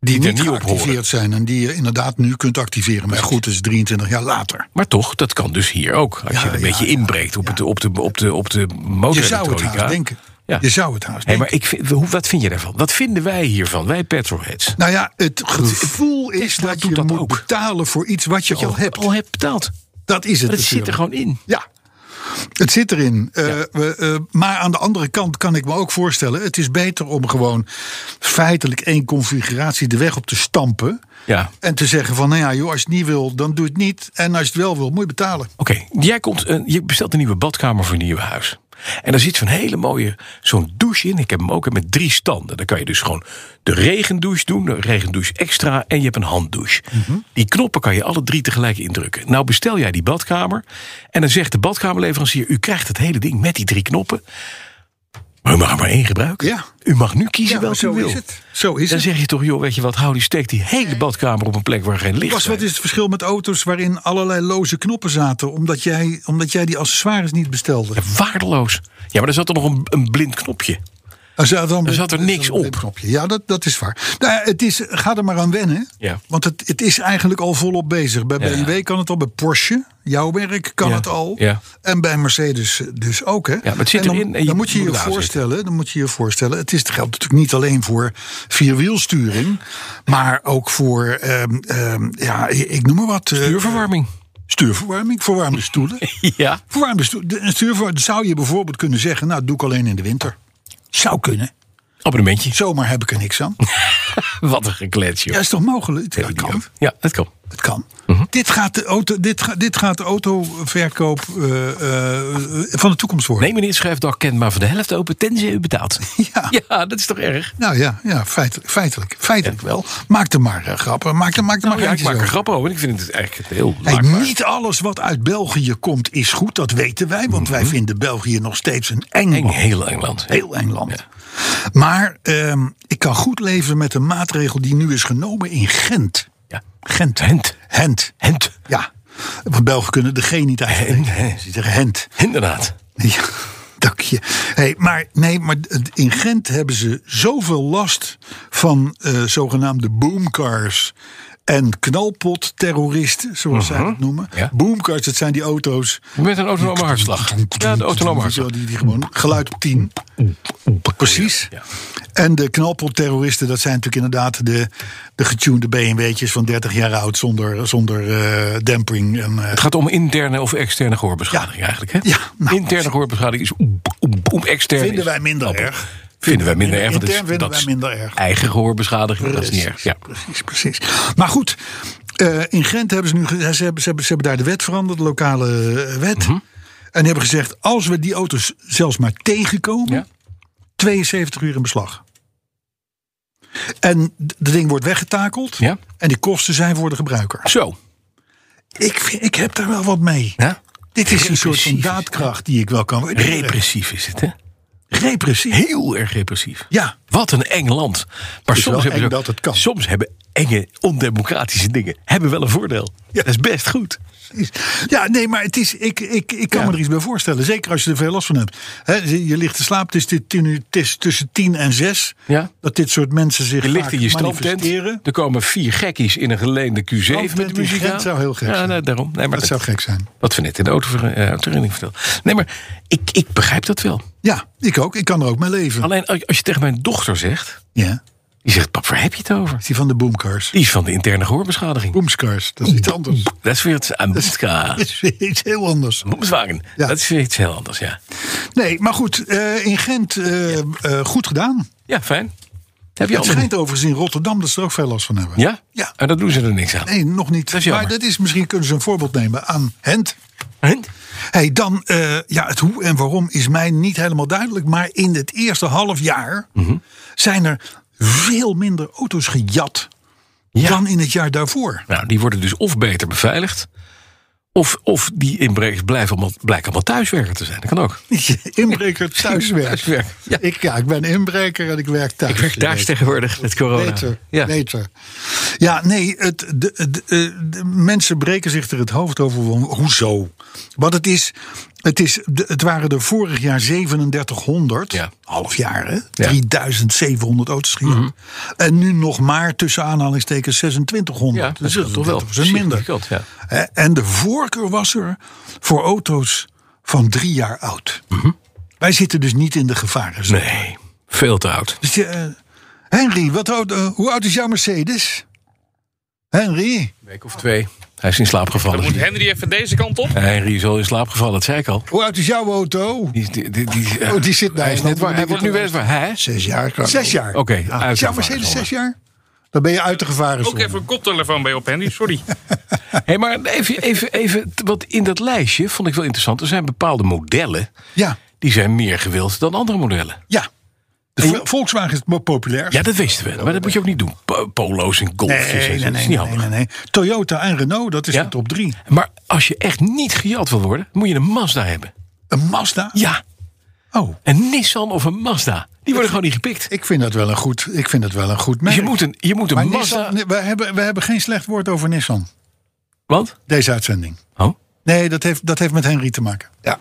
S2: die,
S3: er
S2: niet
S3: niet op horen.
S2: geactiveerd zijn. En die je inderdaad nu kunt activeren. Maar goed, het is 23 jaar later.
S3: Maar toch, dat kan dus hier ook. Als je een beetje inbreekt op, het, op de, op de, op de
S2: Je zou het haast
S3: motorelektronica.
S2: denken.
S3: Ja.
S2: Je zou het haast
S3: Hé,
S2: denken.
S3: maar ik vind, hoe, wat vind je daarvan? Wat vinden wij hiervan? Wij petrolheads.
S2: Nou ja, het gevoel is
S3: Tesla
S2: dat je
S3: doet dat
S2: moet
S3: ook.
S2: betalen voor iets wat je al hebt.
S3: Al heb betaald.
S2: Dat is het.
S3: Maar dat zit oh, er
S2: natuurlijk.
S3: gewoon in.
S2: Ja. Het zit erin. Eh, we, eh, maar aan de andere kant kan ik me ook voorstellen... het is beter om gewoon feitelijk één configuratie de weg op te stampen...
S3: Ja.
S2: en te zeggen van, nou ja, joh, als je het niet wil, dan doe het niet. En als je het wel wil, moet je betalen.
S3: Oké, jij komt, een- je bestelt een nieuwe badkamer voor een nieuw huis. En daar zit zo'n hele mooie, zo'n douche in. Ik heb hem ook hè, met drie standen. Dan kan je dus gewoon de regendouche doen, de regendouche extra en je hebt een handdouche.
S2: Mhm.
S3: Die knoppen kan je alle drie tegelijk indrukken. Nou bestel jij die badkamer en dan zegt de badkamerleverancier... u krijgt het hele ding met die drie knoppen, maar u mag er maar één gebruiken.
S2: Ja.
S3: U mag nu kiezen
S2: Ja,
S3: welke
S2: zo
S3: u wil.
S2: is het. Zo is
S3: Dan
S2: het.
S3: zeg je toch, joh, weet je wat, hou die steek die hele badkamer op een plek waar geen licht
S2: Bas, wat
S3: schijnt.
S2: is het verschil met auto's waarin allerlei loze knoppen zaten... omdat jij, omdat jij die accessoires niet bestelde?
S3: Waardeloos. Ja, maar er zat er nog een, een blind knopje.
S2: Er zat, dan,
S3: Er zat er niks
S2: een
S3: op.
S2: webknopje. Ja, dat, dat is waar. Nou, ja, het is, ga er maar aan wennen.
S3: Ja.
S2: Want het, het is eigenlijk al volop bezig. Bij
S3: Ja.
S2: BMW kan het al, bij Porsche, jouw merk, kan
S3: Ja.
S2: het al.
S3: Ja.
S2: En bij Mercedes dus ook. Hè.
S3: maar het zit
S2: en dan,
S3: erin en je
S2: dan moet je
S3: moet
S2: je
S3: het aanzetten.
S2: voorstellen, dan moet je je voorstellen. Het is, het geldt natuurlijk niet alleen voor vierwielsturing. Maar ook voor, ehm, ehm, ja, ik ik noem maar wat. eh,
S3: Duurverwarming.
S2: Stuurverwarming, verwarmde stoelen.
S3: Ja.
S2: verwarmde stoelen. De- Een stuurverwarming zou je bijvoorbeeld kunnen zeggen, nou doe ik alleen in de winter. Zou kunnen.
S3: Abonnementje.
S2: Zomaar heb ik er niks aan.
S3: Wat een geklets, joh.
S2: Ja, is toch mogelijk? Ja,
S3: Die
S2: kan.
S3: ook. Ja, dat kan. Mhm.
S2: Het kan. Dit gaat de auto, dit ga- dit gaat de autoverkoop eh, eh, eh, van de toekomst worden.
S3: Nee, meneer Schrijfdag kent maar voor de helft open, tenzij u betaalt.
S2: Ja.
S3: Ja, dat is toch erg?
S2: Nou ja, ja feitelijk, feitelijk, feitelijk wel. Maak er maar eh, grappen. Maak er, maak er
S3: Nou
S2: maar
S3: ja, ik
S2: geintjes
S3: maak er
S2: over.
S3: grappen over. Ik vind het eigenlijk heel
S2: Hey,
S3: laakbaar.
S2: niet alles wat uit België komt is goed, dat weten wij. Want wij vinden België nog steeds een eng
S3: Mhm. Eng,
S2: land.
S3: heel Engeland.
S2: Heel eng land. Maar ehm, ik kan goed leven met een maatregel die nu is genomen in Gent.
S3: Ja.
S2: Gent.
S3: Hent.
S2: Hent.
S3: Hent.
S2: Ja, want Belgen kunnen de G niet uitspreken.
S3: Hent.
S2: Ze zeggen Hent.
S3: Inderdaad.
S2: Ja, dank je. Hey, maar nee, maar het- in Gent hebben ze zoveel last van eh, zogenaamde boomcars. En knalpotterroristen, zoals zij het noemen.
S3: Mhm. ja.
S2: Boomcars, dat zijn die auto's.
S3: Met een autonome hartslag. Ja, de autonome hartslag.
S2: Die, die gewoon geluid op 10. Precies.
S3: Ja.
S2: En de knalpotterroristen, dat zijn natuurlijk inderdaad de, de getunede BMW'tjes van 30 jaar oud zonder, zonder eh, demping. En, eh,
S3: Het gaat om interne of externe gehoorbeschadiging eigenlijk, hè?
S2: Ja, nou,
S3: interne gehoorbeschadiging is oem, oem, oem, externe
S2: Vinden
S3: is
S2: wij minder
S3: appel.
S2: erg.
S3: Vinden wij minder erg. want
S2: Intern
S3: dat is-
S2: vinden
S3: dat
S2: wij
S3: is
S2: minder erg.
S3: Eigen gehoorbeschadiging, dat is niet erg. Ja.
S2: Precies, precies. Maar goed, eh, in Gent hebben ze nu ge- ze hebben, ze, hebben, ze hebben daar de wet veranderd, de lokale eh, wet.
S3: Mhm.
S2: En hebben gezegd, als we die auto's zelfs maar tegenkomen,
S3: Ja.
S2: 72 uur in beslag. En d- dat ding wordt weggetakeld.
S3: Ja.
S2: En die kosten zijn voor de gebruiker.
S3: Zo.
S2: Ik, vind- ik heb daar wel wat mee.
S3: Ja?
S2: Dit is een soort van
S3: Repressief.
S2: daadkracht die ik wel kan waarderen.
S3: Repressief is het, hè?
S2: Repressief.
S3: Heel erg repressief.
S2: Ja.
S3: Wat een eng land. Maar
S2: wel
S3: soms hebben,
S2: eng
S3: ze ook-
S2: dat het kan.
S3: soms hebben enge, ondemocratische dingen hebben wel een voordeel.
S2: Ja.
S3: Dat is best goed.
S2: Precies. Ja, nee, maar het is, ik, ik, ik kan
S3: Ja.
S2: me er iets bij voorstellen. Zeker als je er veel last van hebt. Hè, je je ligt te slapen, het is, dit tien uur- het is tussen tien en zes.
S3: Ja.
S2: Dat dit soort mensen zich
S3: Je ligt
S2: vaak
S3: in je strandtent.
S2: manifesteren.
S3: Er komen vier gekkies in een geleende Q7 met
S2: Strandtent
S3: de
S2: in
S3: muziek
S2: Gent
S3: aan.
S2: zou heel gek
S3: ja,
S2: zijn.
S3: nee, daarom. Nee, maar
S2: Dat zou gek zijn.
S3: Wat we net in de auto vertelde. nee, maar ik, ik begrijp dat wel.
S2: Ja, ik ook. Ik kan er ook mee leven.
S3: Alleen als als je tegen mijn dochter zegt...
S2: Ja.
S3: Die zegt, pap, waar heb je het over?
S2: Is die van de boomcars?
S3: Die is van de interne gehoorbeschadiging.
S2: Boomcars, dat is iets anders.
S3: Dat is weer het Ambitka.
S2: Dat is weer iets heel anders.
S3: Volkswagen.
S2: Ja.
S3: Dat is weer iets heel anders, ja.
S2: Nee, maar goed, eh, in Gent eh, eh, goed gedaan.
S3: Ja, fijn. Heb je
S2: Het
S3: al
S2: schijnt overigens in Rotterdam dat ze er ook veel last van hebben.
S3: Ja?
S2: Ja.
S3: En daar doen ze er niks aan.
S2: Nee, nog niet.
S3: Dat is
S2: maar
S3: jammer.
S2: dat is, misschien kunnen ze een voorbeeld nemen aan Hent.
S3: Hent?
S2: Hey, dan, eh, ja, het hoe en waarom is mij niet helemaal duidelijk. Maar in het eerste half jaar zijn er veel minder auto's gejat
S3: Ja.
S2: dan in het jaar daarvoor.
S3: Nou, die worden dus of beter beveiligd... of, of die inbrekers blijven allemaal, blijken allemaal thuiswerker te zijn. Dat kan ook.
S2: Inbreker thuiswerk.
S3: Thuiswerk, ja.
S2: Ik, ja, ik ben inbreker en ik werk thuis.
S3: Ik werk
S2: Je
S3: thuis
S2: weet.
S3: tegenwoordig met corona.
S2: Beter,
S3: ja.
S2: beter. Ja, nee, het, de, de- de- de mensen breken zich er het hoofd over. van, Hoezo? Want het is, het is, de- het waren er vorig jaar 3700,
S3: Ja. Mhm.
S2: half jaar hè, 3700 auto's gejat. En nu nog maar tussen aanhalingstekens Dus 2600.
S3: Ja, dat is toch wel
S2: 30% minder.
S3: significant, ja.
S2: Hè, En de voorkeur was er voor auto's van drie jaar oud. Wij zitten dus niet in de gevarenzone.
S3: Mhm. Nee, veel te oud.
S2: Dus je, eh, Henry, wat oud, eh, hoe oud is jouw Mercedes? Henry?
S3: Een week of twee. Hij is in slaap
S4: Dan
S3: gevallen.
S4: moet Henry even deze kant op.
S3: Henry is al in slaap gevallen, dat zei ik al.
S2: Hoe oud is jouw auto?
S3: Die, die, die, die-
S2: Oh, die zit daar.
S3: Hij, is net waar, hij wordt nu weer Ah. waar. Hij?
S2: Zes jaar. Zes jaar.
S3: Oké, uit
S2: Is jouw
S3: de
S2: Mercedes
S3: gevarenzone.
S2: zes jaar? Dan ben je uit de
S4: Ook
S2: gevarenzone.
S4: even een koptelefoon bij op, Henry. Sorry.
S3: Hey, maar even, even, even, want in dat lijstje vond ik wel interessant. Er zijn bepaalde modellen
S2: Ja,
S3: die zijn meer gewild dan andere modellen.
S2: ja. De Vo- Volkswagen is het mo- populair.
S3: Ja, dat wisten we. Maar dat moet je ook niet doen. Po- Polo's en golfjes. en zo,
S2: nee, nee,
S3: dat
S2: nee, nee,
S3: is niet
S2: nee,
S3: handig.
S2: nee, nee. Toyota en Renault, dat is
S3: Ja?
S2: de top drie.
S3: Maar als je echt niet gejat wil worden, moet je een Mazda hebben.
S2: Een Mazda?
S3: Ja,
S2: Oh,
S3: een Nissan of een Mazda. Die worden gewoon niet gepikt.
S2: ik vind dat wel een goed, ik vind dat wel een goed merk.
S3: Dus je moet een, je moet
S2: maar
S3: een Mazda...
S2: Nissan, nee, we, hebben, we hebben geen slecht woord over Nissan.
S3: Want?
S2: Deze uitzending.
S3: Oh.
S2: Nee, dat heeft, dat heeft met Henry te maken.
S5: Ja,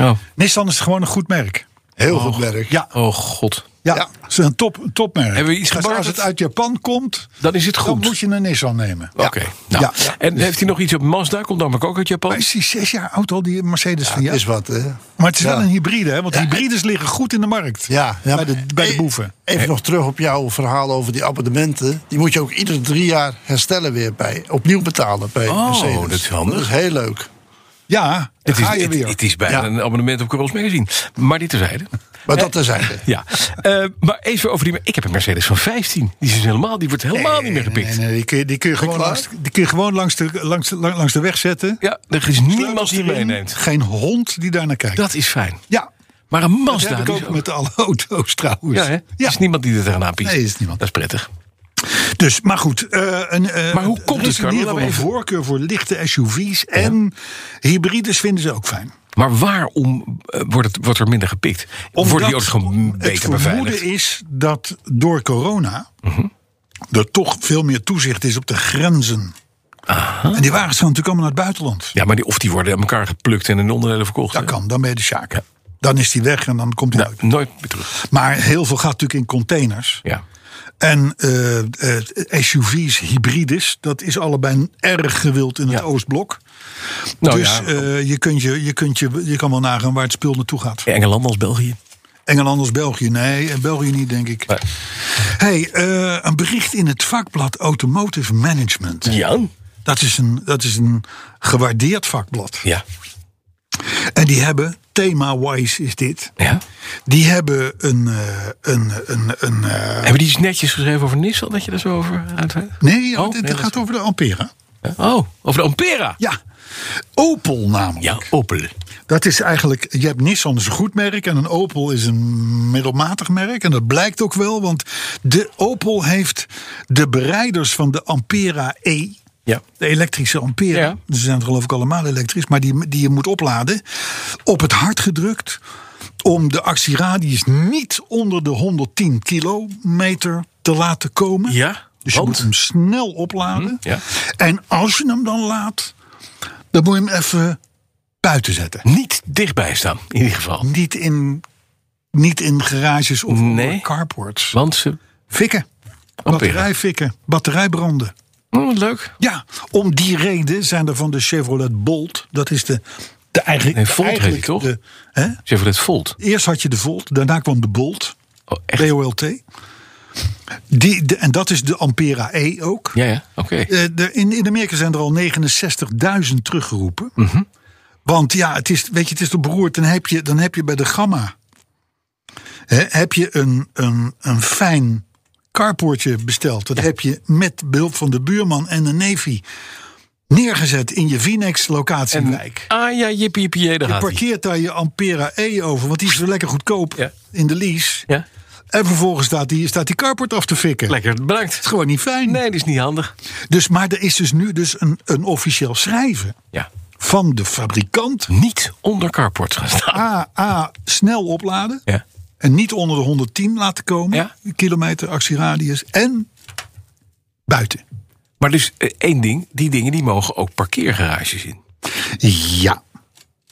S3: Oh,
S2: Nissan is gewoon een goed merk.
S5: heel goed werk.
S2: Ja,
S3: oh god.
S2: ja.
S5: Ja.
S2: Het is een top, een topmerk.
S3: Hebben we iets
S2: Dus Als
S3: gebarterd?
S2: het uit Japan komt,
S3: Dan is het
S2: dan
S3: goed.
S2: moet je een Nissan nemen.
S3: Oké. Nou.
S2: Ja, ja.
S3: En heeft hij nog iets op Mazda? Komt dan maar ook uit Japan?
S2: Maar is die zes jaar oud al, die Mercedes van
S5: Ja,
S2: jou?
S5: is wat, hè?
S2: Maar het is wel
S5: Ja.
S2: een hybride, hè? want hybrides liggen goed in de markt.
S5: Ja, ja.
S2: bij, de, bij de boeven.
S5: e- Even nog terug op jouw verhaal over die abonnementen. Die moet je ook iedere drie jaar herstellen weer bij. Opnieuw betalen bij
S3: Oh,
S5: Mercedes.
S3: dat is handig.
S5: Dat is heel leuk.
S2: Ja, daar
S3: Het is,
S2: ga je
S3: het,
S2: weer.
S3: het is bijna
S5: Ja.
S3: een abonnement op Corol's Magazine. Maar dit terzijde.
S5: Maar dat terzijde.
S3: Ja. Eh, maar even over die... Ik heb een Mercedes van 15. Die, is dus helemaal, die wordt helemaal niet meer gepikt.
S2: Nee, nee, die kun je, die kun je gewoon,
S5: klaar?
S2: langs, die kun je gewoon langs, de, langs, de- langs de weg zetten.
S3: Ja, er is niemand die
S2: Sleutels erin,
S3: meeneemt.
S2: Geen hond die daarnaar kijkt.
S3: Dat is fijn.
S2: ja,
S3: Maar een
S2: dat
S3: Mazda...
S2: heb ik
S3: die is
S2: ook
S3: ook-
S2: met alle auto's trouwens.
S3: Ja, hè? Er is niemand die er tegenaan piekt.
S2: Nee, er is niemand.
S3: Dat is prettig.
S2: Dus, maar goed. eh, een, eh,
S3: Maar hoe komt
S2: er is
S3: het, Carlo?
S2: in ieder geval
S3: Laten we
S2: een
S3: even-
S2: voorkeur voor lichte SUV's. En hybrides vinden ze ook fijn.
S3: Maar waarom eh, wordt, het, wordt er minder gepikt? worden die auto's gewoon
S2: het
S3: beter
S2: vermoeden
S3: beveiligd?
S2: is dat door corona...
S3: Mhm.
S2: er toch veel meer toezicht is op de grenzen. En die wagens gaan natuurlijk allemaal naar het buitenland.
S3: Ja, maar die, of die worden aan elkaar geplukt en in onderdelen verkocht.
S2: Dat
S3: hè?
S2: kan, dan ben je de sjaak. Dan is die weg en dan komt hij uit.
S3: Nooit meer terug.
S2: Maar heel veel gaat natuurlijk in containers.
S3: Ja.
S2: En eh, eh, SUV's, hybrides, dat is allebei erg gewild in het
S3: Ja.
S2: Oostblok.
S3: Nou
S2: dus
S3: ja,
S2: eh, je, kunt je, je, kunt je, je kan wel nagaan waar het spul naartoe gaat.
S3: Engeland als België.
S2: Engeland als België? Nee, en België niet, denk ik.
S3: Nee.
S2: Hey, eh, een bericht in het vakblad Automotive Management.
S3: Ja.
S2: Dat, is een, dat is een gewaardeerd vakblad.
S3: Ja.
S2: En die hebben, thema-wise is dit...
S3: ja.
S2: Die hebben een... eh, een, een, een eh,
S3: Hebben die iets netjes geschreven over Nissan dat je daar zo over uitweidt?
S2: nee,
S3: Oh,
S2: het, het
S3: nee, dat
S2: gaat
S3: is-
S2: over de Ampera.
S3: Oh, over de Ampera.
S2: Ja, Opel namelijk.
S3: Ja, Opel.
S2: Dat is eigenlijk, je hebt Nissan is een goed merk en een Opel is een middelmatig merk. En dat blijkt ook wel, want de Opel heeft de bereiders van de Ampera E.
S3: Ja.
S2: De elektrische Ampera.
S3: Ja.
S2: Ze zijn er geloof ik allemaal elektrisch, maar die, die je moet opladen. Op het hart gedrukt om de actieradius niet onder de 110 kilometer te laten komen.
S3: Ja,
S2: Dus
S3: want? Hm,
S2: je moet hem snel opladen.
S3: ja.
S2: En als je hem dan laat, dan moet je hem even buiten zetten.
S3: Niet dichtbij staan, in ieder geval.
S2: Niet in, niet in garages of
S3: Nee.
S2: onder carports.
S3: Want ze...
S2: Fikken. Batterijfikken. Batterijbranden.
S3: Oh, leuk.
S2: Ja, om die reden zijn er van de Chevrolet Bolt. Dat is de, de eigenlijk...
S3: Nee, Volt heet die,
S2: eigenlijk
S3: toch?
S2: de- hè?
S3: Chevrolet Volt.
S2: Eerst had je de Volt, daarna kwam de Bolt.
S3: Oh, echt?
S2: BOLT. Die, de- en dat is de Ampera E ook.
S3: Ja, ja, oké.
S2: Eh, de- in, in Amerika zijn er al 69.000 teruggeroepen.
S3: Mhm.
S2: Want ja, het is, weet je, het is toch beroerd. Dan heb je, dan heb je bij de gamma hè, heb je een, een, een fijn carpoortje besteld. Dat heb je met behulp van de buurman en de neefie neergezet in je Vinex-locatiewijk.
S3: Ah ja, jippie, jippie, jee, daar
S2: Je
S3: gaat ie.
S2: parkeert daar je Ampera E over, want die is zo lekker goedkoop
S3: Ja.
S2: in de lease.
S3: Ja,
S2: En vervolgens staat die, staat die carport af te fikken. Het
S3: lekker, bedankt.
S2: is gewoon niet fijn.
S3: Nee, dat is niet handig.
S2: Dus, maar er is dus nu dus een, een officieel schrijven
S3: Ja.
S2: van de fabrikant.
S3: Niet onder carport gaan staan.
S2: A, A, snel opladen.
S3: Ja.
S2: En niet onder de 110 laten komen.
S3: Ja.
S2: Kilometer actieradius. En buiten.
S3: Maar dus eh, één ding, die dingen die mogen ook parkeergarages in.
S2: Ja.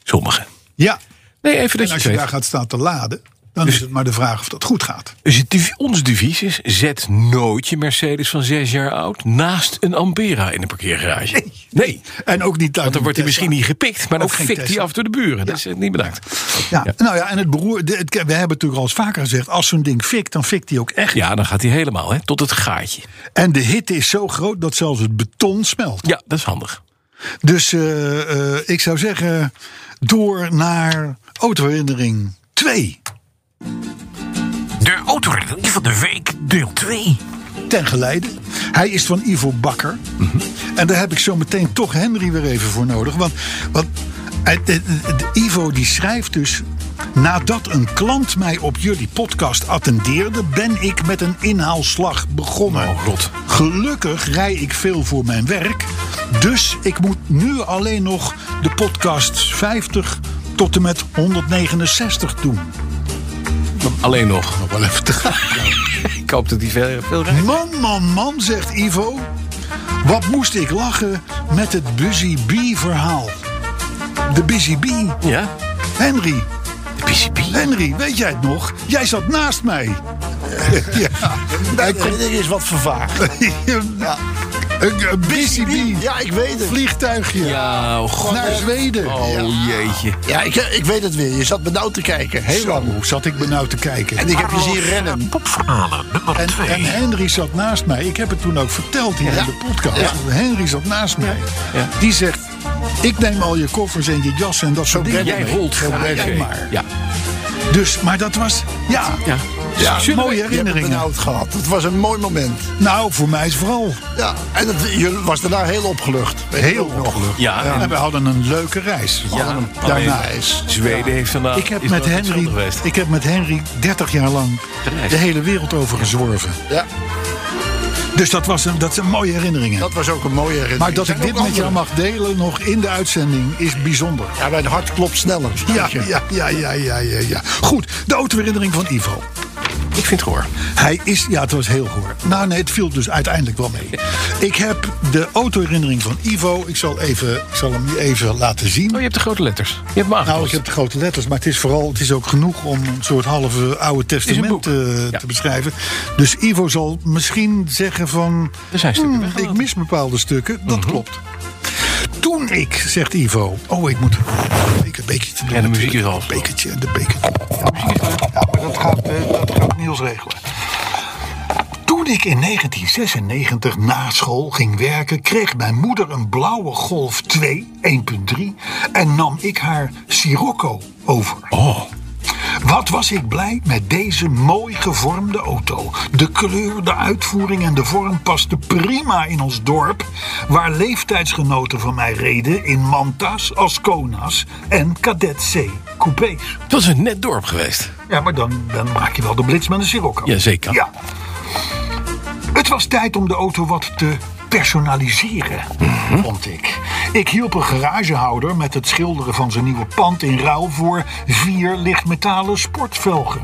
S3: Sommige.
S2: Ja.
S3: Nee, even dat
S2: En
S3: je
S2: als
S3: het
S2: je
S3: weet.
S2: daar gaat staan te laden. Dan is het maar de vraag of dat goed gaat.
S3: Dus het devi- ons devies is, zet nooit je Mercedes van zes jaar oud... naast een Ampera in een parkeergarage. Nee.
S2: En ook niet daar.
S3: Want dan wordt hij misschien niet gepikt, maar dan
S2: Ook geen
S3: fikt hij
S2: Tesla.
S3: af door de buren. Dat is eh, niet bedankt.
S2: Ja. Nou ja, en het beroer. de- het- we hebben het natuurlijk al eens vaker gezegd. Als zo'n ding fikt, dan fikt hij ook echt.
S3: Ja, dan gaat hij helemaal, hè, tot het gaatje.
S2: En de hitte is zo groot dat zelfs het beton smelt.
S3: Ja, dat is handig.
S2: Dus eh, eh, ik zou zeggen, door naar autoherinnering 2.
S3: De autorit van de week, deel 2.
S2: Ten geleide. Hij is van Ivo Bakker. En daar heb ik zo meteen toch Henry weer even voor nodig. Want, want eh, eh, eh, Ivo die schrijft dus... Nadat een klant mij op jullie podcast attendeerde... ben ik met een inhaalslag begonnen.
S3: Oh, god.
S2: Gelukkig rij ik veel voor mijn werk. Dus ik moet nu alleen nog de podcast 50 tot en met 169 doen.
S3: Alleen nog.
S2: Nog wel even te gaan.
S3: Ik hoop dat hij veel, veel rijdt.
S2: Man, man, man, zegt Ivo. Wat moest ik lachen met het Busy Bee verhaal. De Busy Bee.
S3: Ja,
S2: Henry,
S3: de PCP.
S2: Henry, weet jij het nog? Jij zat naast mij. ja.
S5: Hij kon- Er is wat vervaagd.
S2: ja. Een een Busy Bee.
S5: Ja, ik weet het.
S2: Vliegtuigje.
S3: Ja, oh, god.
S2: Naar Zweden.
S3: Oh, jeetje.
S5: Ja, ik, ik weet het weer. Je zat benauwd te kijken. Heel
S2: Zo Oh,
S5: lang.
S2: zat ik benauwd te kijken.
S5: En ik heb je zien rennen.
S2: En, en Henry zat naast mij. Ik heb het toen ook verteld hier in de podcast. Henry zat naast mij.
S3: Ja.
S2: Die zegt: Ik neem al je koffers en je jassen en dat soort dingen.
S3: Jij
S2: mee."
S3: rolt
S2: Zo
S3: graag.
S2: ben ik
S3: Oké.
S2: maar.
S3: Ja,
S2: Dus, maar dat was. Ja,
S3: ja.
S5: Ja,
S3: Zullen we- nou-
S2: mooie
S5: Je hebt het
S2: herinneringen.
S5: benauwd gehad. Het was een mooi moment.
S2: Nou, voor mij is vooral
S5: Ja, en het, je was daarna heel opgelucht. Weet je
S2: heel
S5: ook nog.
S2: ongelukkig.
S3: Ja, en-
S2: En we hadden een leuke reis. We hadden hem
S3: alleen-
S2: daarna.
S5: Nice.
S3: Zweden heeft vandaag.
S2: Ik heb,
S3: is
S2: met
S3: wel hetzelfde
S2: Henry,
S3: geweest.
S2: ik heb met Henry 30 jaar lang
S3: Gereisd.
S2: de hele wereld over gezworven.
S5: Ja,
S2: Dus dat, was een, dat zijn mooie herinneringen.
S5: dat was ook een mooie herinnering.
S2: maar dat
S5: Zijn
S2: ik dit
S5: ook
S2: met jou
S5: andere.
S2: mag delen nog in de uitzending is bijzonder.
S5: Ja, mijn hart klopt sneller.
S2: Ja,
S5: snap je?
S2: ja, ja, ja, ja, ja, ja. Goed, de autoherinnering van Ivo.
S3: Ik vind het hoor.
S2: Hij is, ja, het was heel hoor. Nou, nee, het viel dus uiteindelijk wel mee. Ik heb de autoherinnering van Ivo. Ik zal, even, ik zal hem je even laten zien.
S3: Oh, je hebt de grote letters. Je hebt hem
S2: Nou,
S3: aangepast.
S2: ik heb de grote letters, maar het is vooral, het is ook genoeg om een soort halve oude testament
S3: boek.
S2: eh,
S3: Ja.
S2: te beschrijven. Dus Ivo zal misschien zeggen van,
S3: Er zijn stukken
S2: "Hmm, ik mis bepaalde stukken. Dat
S3: Mhm.
S2: klopt. Toen ik, zegt Ivo, oh, ik moet een beker- bekertje te doen.
S3: Ja, de muziek is al.
S2: Bekertje en de bekertje. Ja, maar dat gaat, eh, dat gaat Niels regelen. Toen ik in 1996 na school ging werken, kreeg mijn moeder een blauwe Golf 2 1.3 en nam ik haar Sirocco over.
S3: Oh,
S2: Wat was ik blij met deze mooi gevormde auto. De kleur, de uitvoering en de vorm pasten prima in ons dorp... waar leeftijdsgenoten van mij reden in Mantas, Ascona's en Cadet C coupés.
S3: het was een net dorp geweest.
S2: Ja, maar dan, dan maak je wel de blitz met een Sirocco.
S3: Jazeker.
S2: Ja. Het was tijd om de auto wat te personaliseren, vond ik. Ik hielp een garagehouder met het schilderen van zijn nieuwe pand in ruil voor vier lichtmetalen sportvelgen.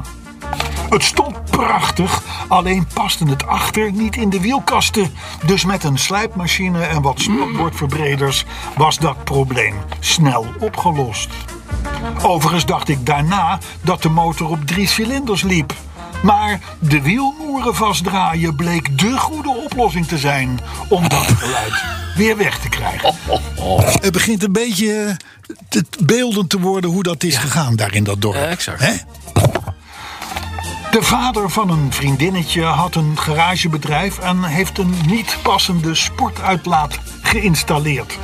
S2: Het stond prachtig, alleen paste het achter niet in de wielkasten. Dus met een slijpmachine en wat snotbordverbreders was dat probleem snel opgelost. Overigens dacht ik daarna dat de motor op drie cilinders liep. Maar de wielmoeren vastdraaien bleek de goede oplossing te zijn om dat geluid weer weg te krijgen. Het begint een beetje te beeldend te worden hoe dat is gegaan daar in dat dorp.
S3: Ja, exact.
S2: Hè? De vader van een vriendinnetje had een garagebedrijf en heeft een niet passende sportuitlaat geïnstalleerd.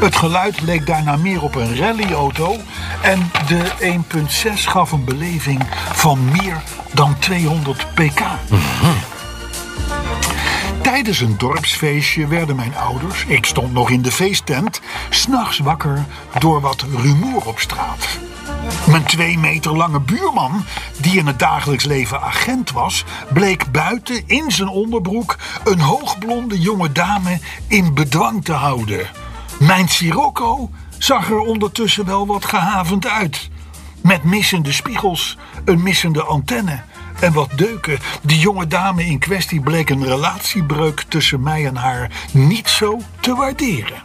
S2: Het geluid leek daarna meer op een rallyauto en de 1.6 gaf een beleving van meer dan 200 pk. Tijdens een dorpsfeestje werden mijn ouders, ik stond nog in de feesttent, s'nachts wakker door wat rumoer op straat. Mijn twee meter lange buurman, die in het dagelijks leven agent was, bleek buiten in zijn onderbroek een hoogblonde jonge dame in bedwang te houden. Mijn Sirocco zag er ondertussen wel wat gehavend uit. Met missende spiegels, een missende antenne en wat deuken. Die jonge dame in kwestie bleek een relatiebreuk tussen mij en haar niet zo te waarderen.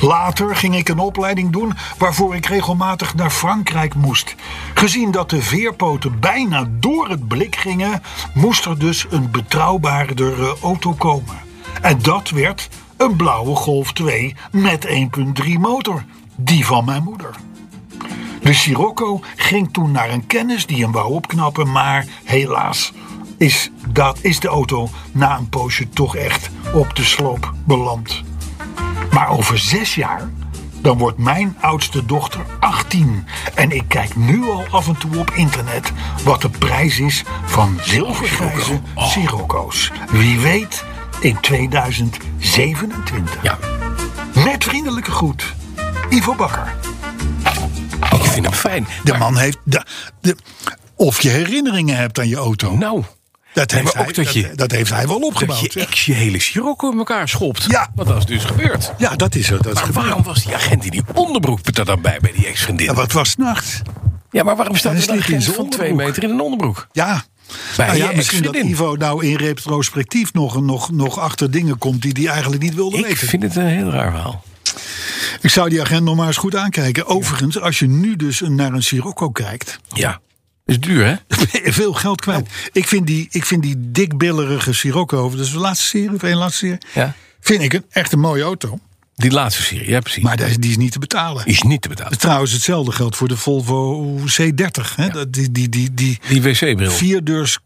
S2: Later ging ik een opleiding doen waarvoor ik regelmatig naar Frankrijk moest. Gezien dat de veerpoten bijna door het blik gingen, moest er dus een betrouwbaardere auto komen. En dat werd een blauwe Golf 2 met 1.3 motor, die van mijn moeder. De Sirocco ging toen naar een kennis die hem wou opknappen, maar helaas is, dat, is de auto na een poosje toch echt op de sloop beland. Maar over zes jaar, dan wordt mijn oudste dochter 18. En ik kijk nu al af en toe op internet wat de prijs is van zilvergrijze Sirocco's. Wie weet in 2027.
S3: Ja,
S2: Met vriendelijke groet, Ivo Bakker.
S3: ik vind hem fijn.
S2: De
S3: Maar
S2: man heeft. De, de- of je herinneringen hebt aan je auto.
S3: nou,
S2: dat,
S3: nee,
S2: heeft
S3: maar
S2: hij,
S3: ook dat je-
S2: dat, dat heeft hij wel
S3: dat
S2: opgebouwd.
S3: je
S2: ja.
S3: ex je hele Sirocco in elkaar schopt.
S2: Ja.
S3: Want dat is dus gebeurd.
S2: ja, dat is het. Dat is
S3: Maar
S2: gebeurd.
S3: waarom was die agent in die onderbroek er dan bij, bij die ex-vriendin?
S2: Ja, wat was 's nachts?
S3: Ja, maar waarom staat
S2: Hij
S3: er dan een
S2: sliep in
S3: agent
S2: zijn
S3: van twee
S2: onderbroek. Oh,
S3: meter in een onderbroek?
S2: Ja.
S3: Bij
S2: Nou ja,
S3: je
S2: misschien dat
S3: ex-vriendin.
S2: Ivo nou in retrospectief nog, nog, nog achter dingen komt die hij eigenlijk niet wilde
S3: Ik
S2: weten.
S3: vind het een heel raar verhaal.
S2: Ik zou die agent nog maar eens goed aankijken. Overigens, als je nu dus een- naar een Sirocco kijkt,
S3: Ja. Is duur, hè?
S2: ben je veel geld
S3: Oh.
S2: kwijt. Ik vind die, ik vind die dikbillerige Sirocco, dat is de laatste serie of één laatste serie,
S3: Ja.
S2: vind ik een, echt een mooie auto.
S3: Die laatste serie, ja precies.
S2: Maar die is- die is niet te betalen.
S3: is niet te betalen.
S2: Trouwens, hetzelfde geldt voor de Volvo C30. Hè? Dat- Die, die, die, die
S3: Die wc-bril.
S2: vierdeurs,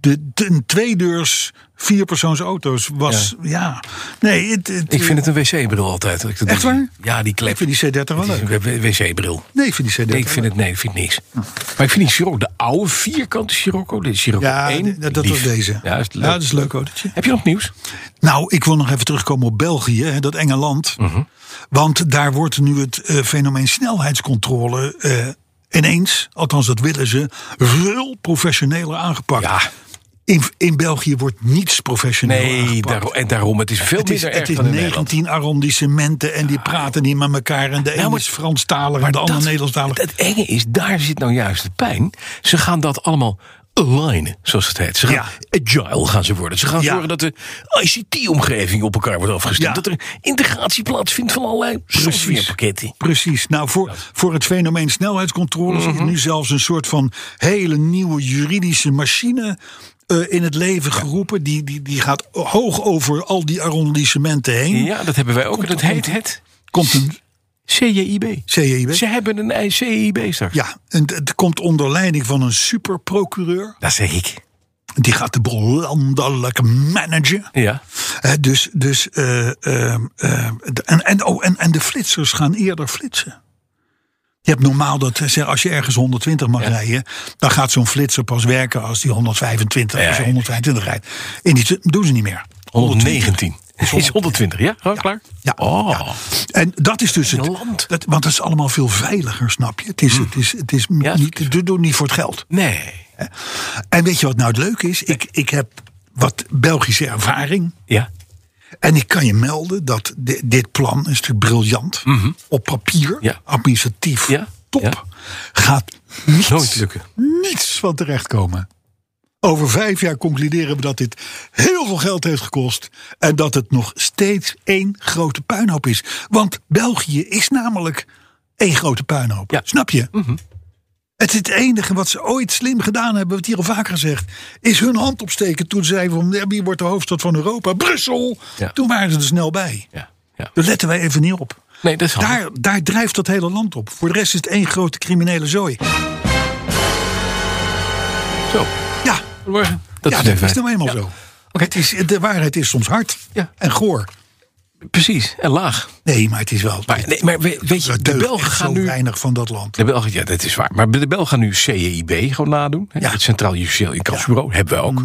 S2: de, de een tweedeurs, vierpersoons auto's was, ja. Nee, het, het-
S3: Ik vind het een wc-bril altijd. dat ik dat
S2: Echt
S3: doe.
S2: waar?
S3: Ja, die klep.
S2: ik vind die C30 wel
S3: Het is
S2: leuk.
S3: een wc-bril.
S2: Nee, ik vind die C30
S3: Nee, ik vind
S2: leuk.
S3: het, nee, ik vind het niks. Maar ik vind die Sirocco, de oude vierkante Sirocco, de Sirocco
S2: Ja,
S3: 1.
S2: d- dat, dat was
S3: lief.
S2: deze. Nou,
S3: Ja, is het leuk.
S2: dat is een leuk autootje.
S3: Heb je nog nieuws?
S2: Nou, ik wil nog even terugkomen op België, hè, dat enge land.
S3: Mhm.
S2: Want daar wordt nu het eh, fenomeen snelheidscontrole eh, ineens, althans dat willen ze, veel professioneler aangepakt.
S3: Ja.
S2: In, in België wordt niets professioneel
S3: Nee,
S2: aangepakt.
S3: daarom, en daarom. Het is veel
S2: Het is,
S3: minder
S2: het
S3: erg
S2: is
S3: dan in Nederland. Ah. Nou,
S2: 19 arrondissementen en die praten niet met elkaar. En de ene
S3: maar-
S2: is Franstalig en de andere Nederlandstalig.
S3: Het, het enge is, daar zit nou juist de pijn. Ze gaan dat allemaal alignen, zoals het heet. Ze gaan agile gaan ze worden. Ze gaan
S2: Ja.
S3: zorgen dat de ICT-omgeving op elkaar wordt afgestemd.
S2: Ja.
S3: Dat er integratie plaatsvindt van allerlei softwarepakketten.
S2: Precies. Nou, voor, voor het fenomeen snelheidscontroles
S3: Mhm.
S2: is nu zelfs een soort van hele nieuwe juridische machine eh, in het leven geroepen. Die, die, die gaat hoog over al die arrondissementen heen.
S3: Ja, dat hebben wij ook. En dat heet het
S2: Komt een
S3: CJIB.
S2: CJB.
S3: Ze hebben een CJIB straks.
S2: Ja, en het- het komt onder leiding van een superprocureur.
S3: Dat zeg ik.
S2: Die gaat de boel landelijk managen.
S3: Ja.
S2: Hè, dus, dus, eh, ehm, ehm, d- en, en, oh, en, en de flitsers gaan eerder flitsen. Je hebt normaal dat, eh, zeg, als je ergens 120 mag rijden, dan gaat zo'n flitser pas werken als die 125, als je
S3: ja.
S2: 125 rijdt. En die t- doen ze niet meer.
S3: 119. Is 120, ja? Gewoon klaar?
S2: Ja,
S3: Oh.
S2: En dat is dus het
S3: Een land. Hm.
S2: Dat, want dat is allemaal veel veiliger, snap je? Het is, het is, het is m-
S3: Ja,
S2: niet, doe- doe niet voor het geld.
S3: Nee.
S2: En weet je wat nou het leuke is? Ik, ik heb wat Belgische ervaring.
S3: Ja.
S2: En ik kan je melden dat di- dit plan is natuurlijk briljant. Op papier,
S3: Mhm. Ja.
S2: administratief,
S3: Ja,
S2: top.
S3: ja.
S2: Gaat niets,
S3: Nooit lukken.
S2: niets van terechtkomen. Over vijf jaar concluderen we dat dit heel veel geld heeft gekost. En dat het nog steeds één grote puinhoop is. Want België is namelijk één grote puinhoop.
S3: Ja. Mhm.
S2: Snap je? Het, is het enige wat ze ooit slim gedaan hebben, wat hier al vaker gezegd, is hun hand opsteken toen ze zeiden van "Ja, wie wordt de hoofdstad van Europa? Brussel!
S3: Ja.
S2: Toen waren ze er snel bij.
S3: Ja. ja.
S2: Daar letten wij even niet op.
S3: Nee, dat is handig.
S2: Daar, daar drijft dat hele land op. Voor de rest is het één grote criminele zooi.
S6: Zo,
S2: Ja,
S6: goedemorgen. Dat
S2: ja
S6: is
S2: dat
S6: even.
S2: is nou eenmaal zo. Het is, de waarheid is soms hard
S6: Ja.
S2: en goor.
S6: Precies, en laag.
S2: Nee, maar het is wel.
S6: Maar, nee, maar we- weet je,
S2: er
S6: de
S2: deugt
S6: Belgen
S2: echt zo
S6: gaan nu...
S2: weinig van dat land.
S6: De Belgen, ja, dat is waar. Maar de Belgen gaan nu CEIB gewoon nadoen. hè,
S2: Ja. Mm,
S6: Het Centraal Justitieel Incassobureau hebben we ook.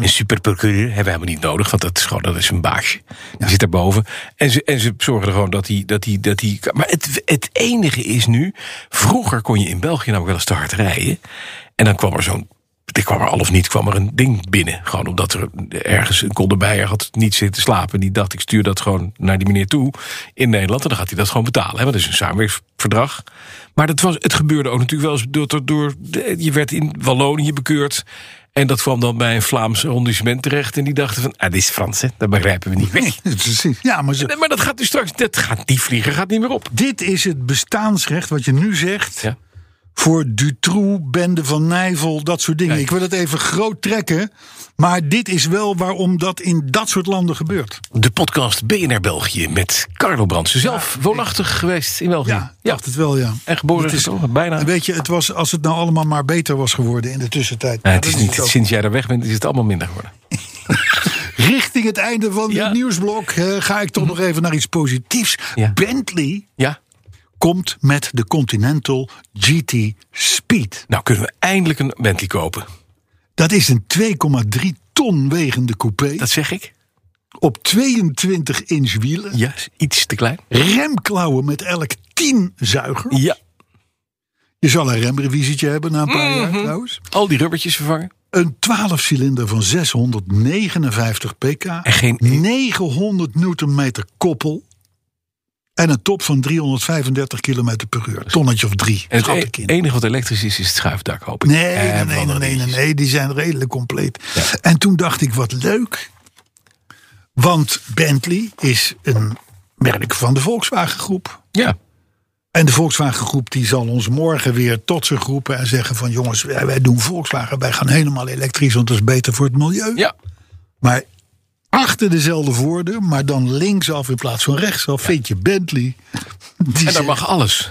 S6: En superprocureur hebben we helemaal niet nodig, want dat is gewoon dat is een baasje. Die zit daarboven. En ze, en ze zorgen er gewoon dat die. Dat die, dat die maar het, het enige is nu. Vroeger kon je in België namelijk wel eens te hard rijden. En dan kwam er zo'n. Er kwam er al of niet kwam er een ding binnen. Gewoon omdat er ergens een kolderbijer had niet zitten slapen. Die dacht, ik stuur dat gewoon naar die meneer toe in Nederland. En dan gaat hij dat gewoon betalen. Hè? Want dat is een samenwerkingsverdrag. Maar dat was, het gebeurde ook natuurlijk wel eens door... door, door de- je werd in Wallonië bekeurd. En dat kwam dan bij een Vlaams arrondissement terecht. En die dachten van, ah, dit is Frans, hè? dat begrijpen we niet. Weg.
S2: Precies. Ja, maar ze-
S6: Nee, maar dat gaat dus straks, dat gaat, die vlieger gaat niet meer op.
S2: dit is het bestaansrecht wat je nu zegt.
S6: Ja.
S2: Voor Dutroux, Bende van Nijvel, dat soort dingen.
S6: Kijk.
S2: Ik wil het even groot trekken. Maar dit is wel waarom dat in dat soort landen gebeurt.
S6: De podcast BNR België met Carlo Brandsen. Zelf woonachtig geweest in België.
S2: Ja, dacht het wel, ja.
S6: En geboren
S2: Het
S6: is toch? Bijna.
S2: En weet je, het was, als het nou allemaal maar beter was geworden in de tussentijd.
S6: Nou, het
S2: Dat
S6: is niet,
S2: ook.
S6: sinds jij daar weg bent, is het allemaal minder geworden.
S2: Richting het einde van
S6: Ja.
S2: dit nieuwsblok eh, ga ik toch nog even naar iets positiefs.
S6: Ja.
S2: Bentley
S6: Ja?
S2: komt met de Continental GT Speed.
S6: Nou kunnen we eindelijk een Bentley kopen.
S2: Dat is een 2,3 ton wegende coupé
S6: Dat zeg ik.
S2: op 22 inch wielen.
S6: Ja, is iets te klein.
S2: Remklauwen met elk 10 zuigers.
S6: Ja.
S2: Je zal een remrevisietje hebben na een paar jaar trouwens.
S6: Al die rubbertjes vervangen.
S2: Een 12-cilinder van 659 pk.
S6: En geen- e-
S2: 900 newtonmeter koppel. En een top van 335 km per uur. Tonnetje of drie.
S6: En het
S2: schat
S6: e-
S2: ik in.
S6: enige wat elektrisch is, is het schuifdak, hoop ik.
S2: Nee,
S6: Eh,
S2: nee, nee,
S6: van
S2: nee,
S6: andere
S2: nee, nee,
S6: dingetjes.
S2: nee, die zijn redelijk compleet. En toen dacht ik, wat leuk. Want Bentley is een merk van de Volkswagen Groep.
S6: Ja,
S2: En de Volkswagen Groep die zal ons morgen weer tot zich roepen en zeggen van... jongens, wij wij doen Volkswagen, wij gaan helemaal elektrisch... want dat is beter voor het milieu.
S6: ja.
S2: Maar achter dezelfde woorden, maar dan linksaf in plaats van rechtsaf... vind je Bentley. Die
S6: En daar
S2: zegt,
S6: mag alles.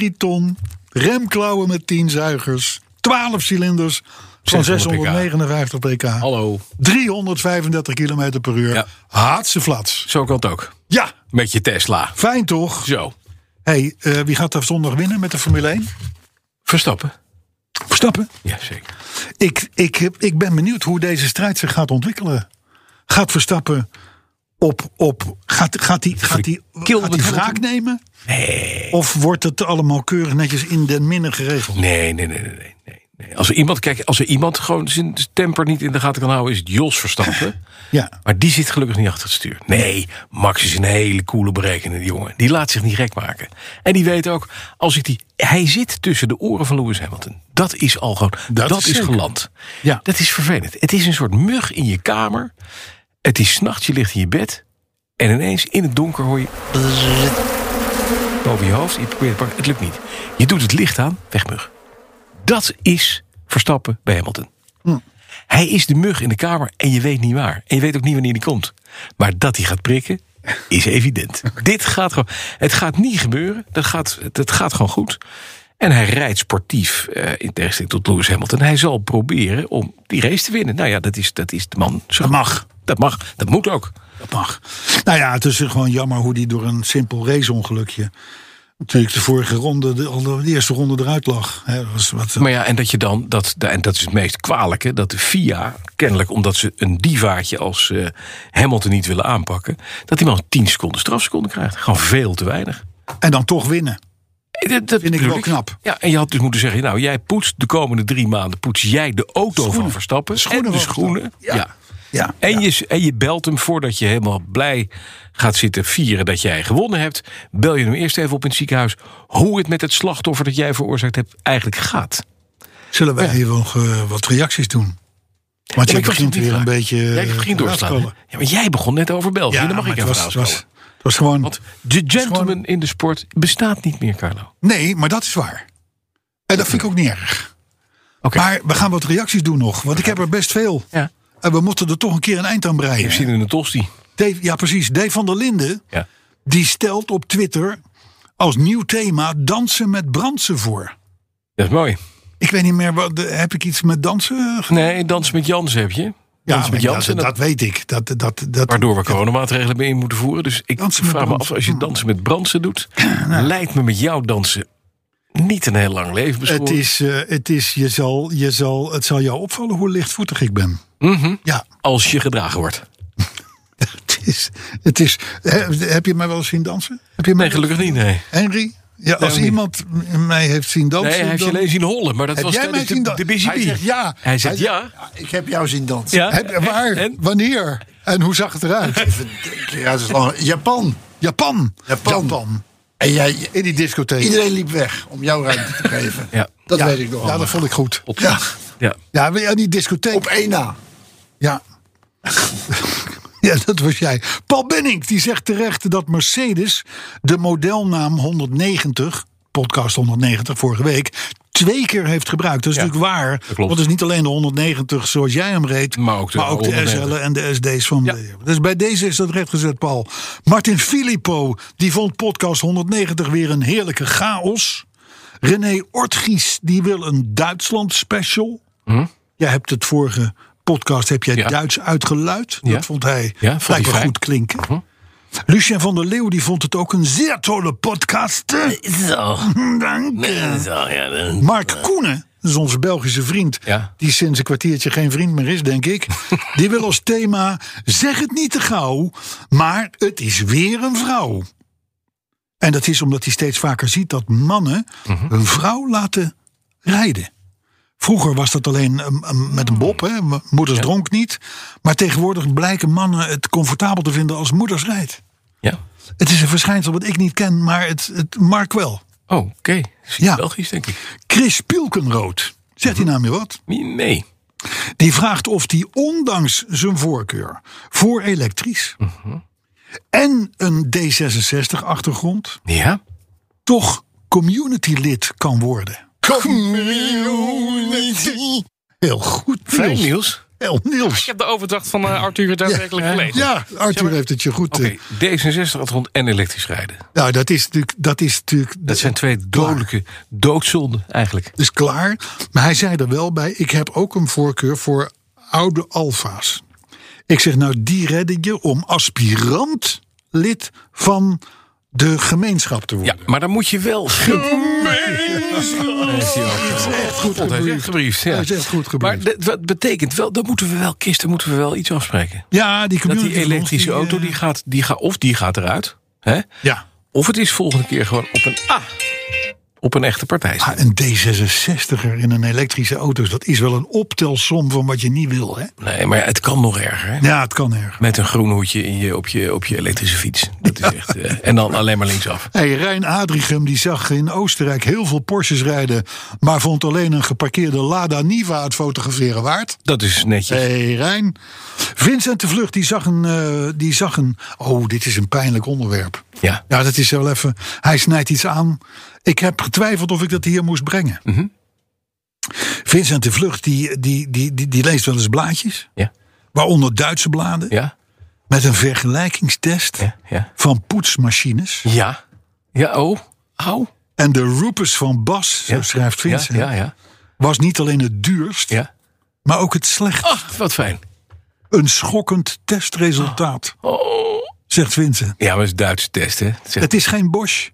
S2: 2,3 ton, remklauwen met 10 zuigers, 12 cilinders van
S6: 600
S2: 659 pk,
S6: Hallo.
S2: 335 km per uur.
S6: Ja.
S2: Haatse flats.
S6: Zo kan het ook.
S2: Ja,
S6: Met je Tesla.
S2: fijn toch?
S6: Zo.
S2: hey, eh, wie gaat er zondag winnen met de Formule 1?
S6: Verstappen.
S2: Verstappen.
S6: Ja, zeker.
S2: Ik, ik, heb- ik ben benieuwd hoe deze strijd zich gaat ontwikkelen. Gaat Verstappen op... op gaat, gaat hij gaat die,
S6: Kill
S2: gaat die
S6: met
S2: wraak
S6: Hamilton?
S2: nemen? Nee. Of wordt het allemaal keurig netjes in den minne geregeld?
S6: Nee, nee, nee, nee, nee, nee. nee. Als er iemand, kijk, als er iemand gewoon zijn temper niet in de gaten kan houden, is het Jos Verstappen.
S2: Ja.
S6: Maar die zit gelukkig niet achter het stuur. Nee, Max is een hele coole berekenende jongen. Die laat zich niet gek maken. En die weet ook, als ik die, hij zit tussen de oren van Lewis Hamilton. Dat is al gewoon, dat,
S2: is
S6: is,
S2: zeker.
S6: geland.
S2: Ja.
S6: Dat is vervelend. Het is een soort mug in je kamer. Het is 's nachts, je ligt in je bed. En ineens in het donker hoor je... Boven je hoofd, je probeert het pakken. Het lukt niet. Je doet het licht aan, weg mug. Dat is Verstappen bij Hamilton.
S2: Hm.
S6: Hij is de mug in de kamer en je weet niet waar. En je weet ook niet wanneer die komt. Maar dat hij gaat prikken, is evident. Dit gaat gewoon. Het gaat niet gebeuren. Dat gaat, dat gaat gewoon goed. En hij rijdt sportief, eh, in tegenstelling tot Lewis Hamilton. Hij zal proberen om die race te winnen. Nou ja, dat is, dat is de man. Zo-
S2: Dat mag.
S6: Dat mag. Dat moet ook.
S2: Dat mag. Nou ja, het is gewoon jammer hoe die door een simpel raceongelukje. Natuurlijk de vorige ronde, de, al de eerste ronde eruit lag. Hè, dat was wat, eh,
S6: Maar ja, en dat je dan, dat, en dat is het meest kwalijke, dat de FIA, kennelijk omdat ze een divaatje als eh, Hamilton niet willen aanpakken, dat die man 10 seconden strafseconden krijgt. Gewoon veel te weinig.
S2: en dan toch winnen.
S6: Eh, Dat, dat
S2: Vind ik
S6: bedoel
S2: wel knap.
S6: Ja, en je had dus moeten zeggen, nou, jij poetst de komende drie maanden, poets jij de auto van Verstappen.
S2: Schoenen
S6: en de
S2: van Verstappen.
S6: schoenen. Ja.
S2: Ja.
S6: En, je, en je belt hem voordat je helemaal blij gaat zitten vieren dat jij gewonnen hebt. Bel je hem eerst even op in het ziekenhuis hoe het met het slachtoffer dat jij veroorzaakt hebt eigenlijk gaat.
S2: Zullen wij even nog, eh, wat reacties doen? Want
S6: Ja,
S2: je
S6: maar ik was
S2: begint
S6: op die
S2: weer
S6: vraag.
S2: een beetje.
S6: Jij
S2: eh,
S6: begint doorslaan.
S2: vooruitkomen.
S6: Ja, maar jij begon net over België.
S2: Ja,
S6: dan mag
S2: maar
S6: ik
S2: het
S6: even
S2: was, het was,
S6: was,
S2: het was gewoon.
S6: Want de gentleman in de sport bestaat niet meer, Carlo.
S2: Nee, maar dat is waar. En dat vind ik ook niet erg.
S6: Oké.
S2: Maar we gaan wat reacties doen nog, want ik heb er best veel.
S6: Ja.
S2: En we moeten er toch een keer een eind aan
S6: Je
S2: breien.
S6: hebt zin in een tosti.
S2: Dave- ja, precies. Dave van der Linden.
S6: Ja.
S2: die stelt op Twitter als nieuw thema dansen met brandsen voor.
S6: Dat is mooi.
S2: Ik weet niet meer, wat, de- heb ik iets met dansen gedaan?
S6: Nee, dans met Jans heb je. Dans
S2: maar
S6: met Jans. en
S2: dat,
S6: dat-
S2: dat weet ik. Dat, dat, dat,
S6: Waardoor we coronamaatregelen mee in moeten voeren. Dus ik
S2: Dansen met
S6: vraag me
S2: Brandsen. Hm. Nou.
S6: af, als je dansen met Brandsen doet... lijkt me met jou dansen niet een heel lang leven beschoren.
S2: het is, eh, het is je zal, je zal, het zal jou opvallen hoe lichtvoetig ik ben. Ja,
S6: Als je gedragen wordt.
S2: het is, het is, he- heb je mij wel eens zien dansen? Heb je mij
S6: Nee, gelukkig niet, nee.
S2: Henry? Ja, als
S6: niet.
S2: iemand m- mij heeft zien dansen.
S6: Nee, hij heeft je
S2: dan-
S6: alleen zien hollen, maar dat
S2: Heb
S6: was
S2: jij mij
S6: tijdens
S2: zien
S6: de, de
S2: dansen?
S6: Busy
S5: Hij
S6: Bee.
S5: zegt ja.
S6: Hij zegt
S5: zegt,
S6: ja.
S5: Ik heb jou zien dansen.
S6: Ja.
S2: Heb- waar?
S6: En?
S2: Wanneer? En hoe zag het eruit?
S5: Even denken. Ja, dat is lang. Japan.
S2: Japan.
S5: Japan. En jij,
S2: In die discotheek.
S5: iedereen liep weg om jou ruimte te geven.
S6: Ja.
S5: Dat
S2: ja,
S5: weet ik nog.
S2: Ja, dat vond ik goed.
S5: Ja,
S6: Ja.
S2: Ja, in die discotheek.
S5: op één na.
S2: Ja. ja, dat was jij. Paul Benning die zegt terecht dat Mercedes de modelnaam 190, podcast 190 vorige week, twee keer heeft gebruikt. Dat is
S6: Ja,
S2: natuurlijk waar.
S6: klopt.
S2: Want het is niet alleen de 190 zoals jij hem reed,
S6: Maar ook de
S2: de
S6: 190.
S2: SL'en en de SD's van
S6: Ja.
S2: de. Dus bij deze is dat rechtgezet, Paul. Martin Filippo die vond podcast 190 weer een heerlijke chaos. René Ortgies die wil een Duitsland special. Jij hebt het vorige podcast heb jij
S6: Hm? Ja.
S2: Duits uitgeluid. Dat
S6: Ja.
S2: vond hij
S6: Ja,
S2: lijkt
S6: vond hij
S2: me
S6: fijn. Hm?
S2: goed klinken. Lucien van der Leeuw die vond het ook een zeer tolle podcast.
S6: Zo.
S2: Dank.
S6: Zo, ja.
S2: Mark Koenen, dat is onze Belgische vriend...
S6: Ja.
S2: die sinds een kwartiertje geen vriend meer is, denk ik... die wil als thema, zeg het niet te gauw... maar het is weer een vrouw. En dat is omdat hij steeds vaker ziet dat mannen...
S6: Mhm.
S2: hun vrouw laten rijden. Vroeger was dat alleen um, um, met een bob, hè? m- moeders dronk niet. Maar tegenwoordig blijken mannen het comfortabel te vinden als moeders rijdt.
S6: Ja.
S2: Het is een verschijnsel wat ik niet ken, maar het, het Mark wel.
S6: Oh, oké. Is Mhm.
S2: Ja.
S6: Belgisch, denk ik.
S2: Chris Pielkenrood. Zegt die naam je wat?
S6: Nee.
S2: Die vraagt of hij ondanks zijn voorkeur voor elektrisch
S6: Mhm.
S2: en een D66-achtergrond
S6: Ja.
S2: toch community-lid kan worden.
S6: Community.
S2: Heel goed,
S6: Fijn
S2: Niels.
S6: nieuws.
S2: Heel
S4: Ik
S2: Niels.
S4: heb de overdracht van eh, Arthur daadwerkelijk gelezen.
S2: Ja, Arthur heeft het je goed.
S6: Oké,
S2: eh,
S6: D66 had rond en elektrisch rijden.
S2: Nou, dat is natuurlijk. Dat is, natuurlijk
S6: Dat zijn twee dodelijke doodzonden eigenlijk.
S2: is klaar. Maar hij zei er wel bij: ik heb ook een voorkeur voor oude alfa's. Ik zeg nou, die redden je om aspirant lid van de gemeenschap te
S6: Ja,
S2: worden.
S6: maar dan moet je wel.
S2: Dat is echt goed
S6: Hij is echt
S2: gebriefd.
S6: gebriefd. Ja.
S2: Hij is echt goed
S6: Maar
S2: gebriefd.
S6: dat, dat betekent wel, dat moeten we wel kisten, moeten we wel iets afspreken.
S2: ja, die
S6: Dat
S2: community
S6: die elektrische
S2: van ons,
S6: auto,
S2: eh,
S6: die gaat, die gaat, of die gaat eruit. Hè?
S2: Ja.
S6: Of het is volgende keer gewoon op een A. Op een echte partij.
S2: Ah, een D66er in een elektrische auto, dat is wel een optelsom van wat je niet wil, hè?
S6: Nee, maar het kan nog erger. Hè?
S2: Ja, het kan erg.
S6: Met een groen hoedje in je, op, je, op je elektrische fiets. Dat is echt, eh, en dan alleen maar linksaf.
S2: Hey, Rijn Adrichem die zag in Oostenrijk heel veel Porsches rijden, maar vond alleen een geparkeerde Lada Niva het fotograferen waard.
S6: Dat is netjes.
S2: Hey Rijn. Vincent de Vlucht, die zag een. eh, die zag een oh, dit is een pijnlijk onderwerp.
S6: Ja.
S2: Ja, dat is wel even. Hij snijdt iets aan. Ik heb getwijfeld of ik dat hier moest brengen. Vincent de Vlucht, die, die, die, die, die leest wel eens blaadjes.
S6: Ja.
S2: Waaronder Duitse bladen.
S6: Ja.
S2: Met een vergelijkingstest
S6: Ja. Ja.
S2: van poetsmachines.
S6: Ja. Ja. Oh. Au.
S2: En de Rupes van Bas, zo
S6: Ja.
S2: schrijft
S6: Ja.
S2: Vincent,
S6: Ja. Ja.
S2: was niet alleen het duurst,
S6: Ja.
S2: maar ook het slecht.
S6: Ach, wat fijn.
S2: Een schokkend testresultaat,
S6: Oh.
S2: zegt Vincent.
S6: Ja, maar het is Duitse test, hè? Het is echt-
S2: Het is geen Bosch.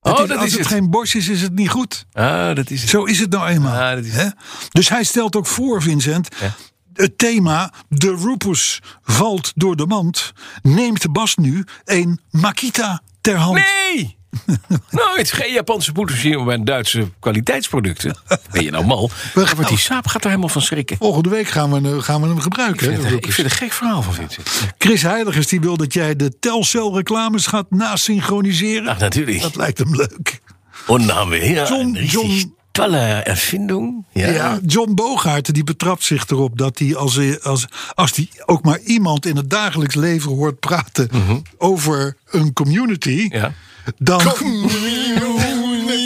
S2: Het
S6: Oh,
S2: is-
S6: dat
S2: als
S6: is
S2: het
S6: het.
S2: geen Bosch is, is het niet goed.
S6: Ah, dat is het.
S2: Zo is het nou eenmaal.
S6: Ah, dat is-
S2: hè? Dus hij stelt ook voor, Vincent.
S6: Ja.
S2: Het thema De Rupus valt door de mand. Neemt Bas nu een Makita ter hand?
S6: Nee! nou, het is geen Japanse poedersierm, maar Duitse kwaliteitsproducten. Ben je nou mal?
S2: gaan-
S6: Maar die saap gaat er helemaal van schrikken.
S2: Nou, Volgende week gaan we, eh, gaan we hem gebruiken.
S6: Ik
S2: hè,
S6: vind,
S2: de
S6: het, ik
S2: Rupus.
S6: vind het een gek verhaal van Vincent.
S2: Chris Heiligers die wil dat jij de Telcel reclames gaat nasynchroniseren.
S6: Ach, Oh, natuurlijk.
S2: Dat lijkt hem leuk.
S6: Und dan haben wir hier
S2: John-
S6: nou, een richtig
S2: John-
S6: tolle Erfindung. Ja.
S2: Ja, John Bogaert die betrapt zich erop dat hij als hij als, als die ook maar iemand in het dagelijks leven hoort praten over een community,
S6: Ja.
S2: dan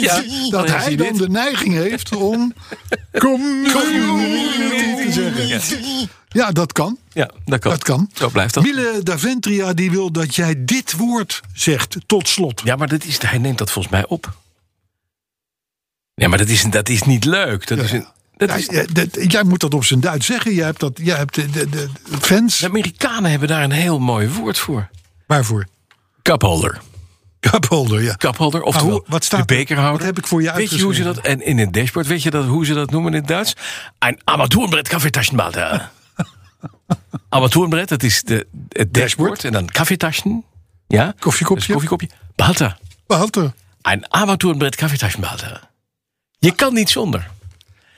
S6: Ja,
S2: dat
S6: dan is
S2: hij dan
S6: dit.
S2: de neiging heeft om community te zeggen. Ja, dat kan.
S6: ja, dat kan.
S2: Dat kan.
S6: Zo blijft dat.
S2: Mille Daventria die wil dat jij dit woord zegt tot slot.
S6: Ja, maar dat is, hij neemt dat volgens mij op.
S3: Nee, maar dat is, dat is niet leuk. Dat is een, dat
S2: Ja,
S3: is,
S2: ja, dat- jij moet dat op zijn Duits zeggen. Jij hebt, dat, jij hebt de, de, de fans.
S3: de Amerikanen hebben daar een heel mooi woord voor.
S2: Waarvoor?
S3: Cupholder.
S2: Cupholder, ja.
S3: Cupholder, of
S2: hoe- wat staat
S3: de
S2: er?
S3: bekerhouder.
S2: Wat heb ik voor je
S3: Weet je hoe ze dat,
S2: uitgeschreven?
S3: en in het dashboard, weet je dat, hoe ze dat noemen in het Duits? Een Armaturenbrett Kaffeetaschenmalte. Armaturenbrett, dat is de, het dashboard. En dan Kaffeetaschen. Ja,
S2: Koffiekopje.
S6: Dus
S3: dat is koffiekopje. Balter.
S2: Walter.
S3: Een Armaturenbrett Kaffeetaschenmalte. Je kan niet zonder.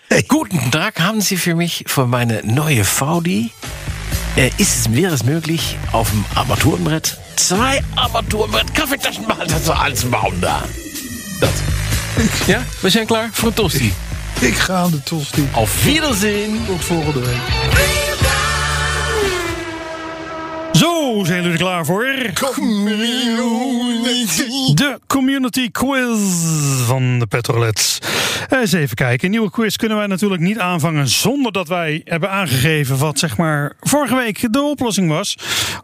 S3: Guten Tag, haben Sie für mich, für meine neue Faudi, äh, ist es mir das möglich, auf dem Armaturenbrett zwei Armaturenbrett Kaffeetaschenmalte zu anzubauen da? Das. Ja, we zijn klaar voor een tosti.
S2: Ik ga aan de tosti.
S3: Auf Wiedersehen.
S2: Tot volgende week.
S7: Zo, zijn jullie er klaar voor? De community quiz van de Petrolets. Eens even kijken. Een nieuwe quiz kunnen wij natuurlijk niet aanvangen zonder dat wij hebben aangegeven wat zeg maar vorige week de oplossing was.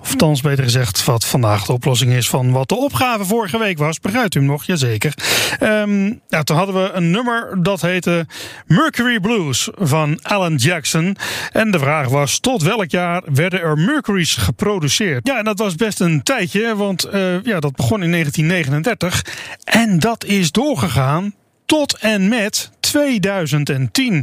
S7: Of althans beter gezegd wat vandaag de oplossing is van wat de opgave vorige week was. Begrijpt u hem nog? Jazeker. Ehm ja, toen hadden we een nummer dat heette Mercury Blues van Alan Jackson. En de vraag was tot welk jaar werden er Mercury's geproduceerd? Ja, en dat was best een tijdje, want eh, ja, dat begon in 1939. En dat is doorgegaan tot en met 2010.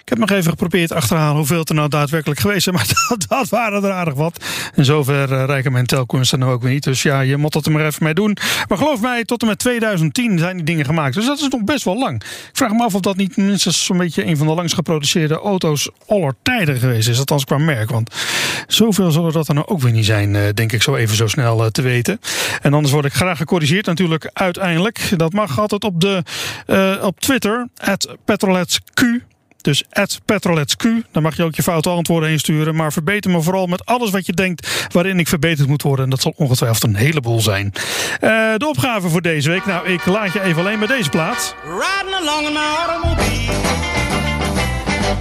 S7: Ik heb nog even geprobeerd achterhalen hoeveel het er nou daadwerkelijk geweest zijn. Maar dat, dat waren er aardig wat. En zover eh, reiken mijn telkomst dan ook weer niet. Dus ja, je moet dat er maar even mee doen. Maar geloof mij, tot en met 2010 zijn die dingen gemaakt. Dus dat is nog best wel lang. Ik vraag me af of dat niet minstens zo'n beetje een van de langst geproduceerde auto's aller tijden geweest is. Althans qua merk. Want zoveel zullen dat er nou ook weer niet zijn, eh, denk ik zo even zo snel eh, te weten. En anders word ik graag gecorrigeerd natuurlijk uiteindelijk. Dat mag altijd op, de, eh, op Twitter, petroletsq. Dus at petroletsq. Daar mag je ook je foute antwoorden heen sturen. Maar verbeter me vooral met alles wat je denkt waarin ik verbeterd moet worden. En dat zal ongetwijfeld een heleboel zijn. Eh, de opgave voor deze week. Nou, ik laat je even alleen met deze plaat.
S8: Riding along in my automobile.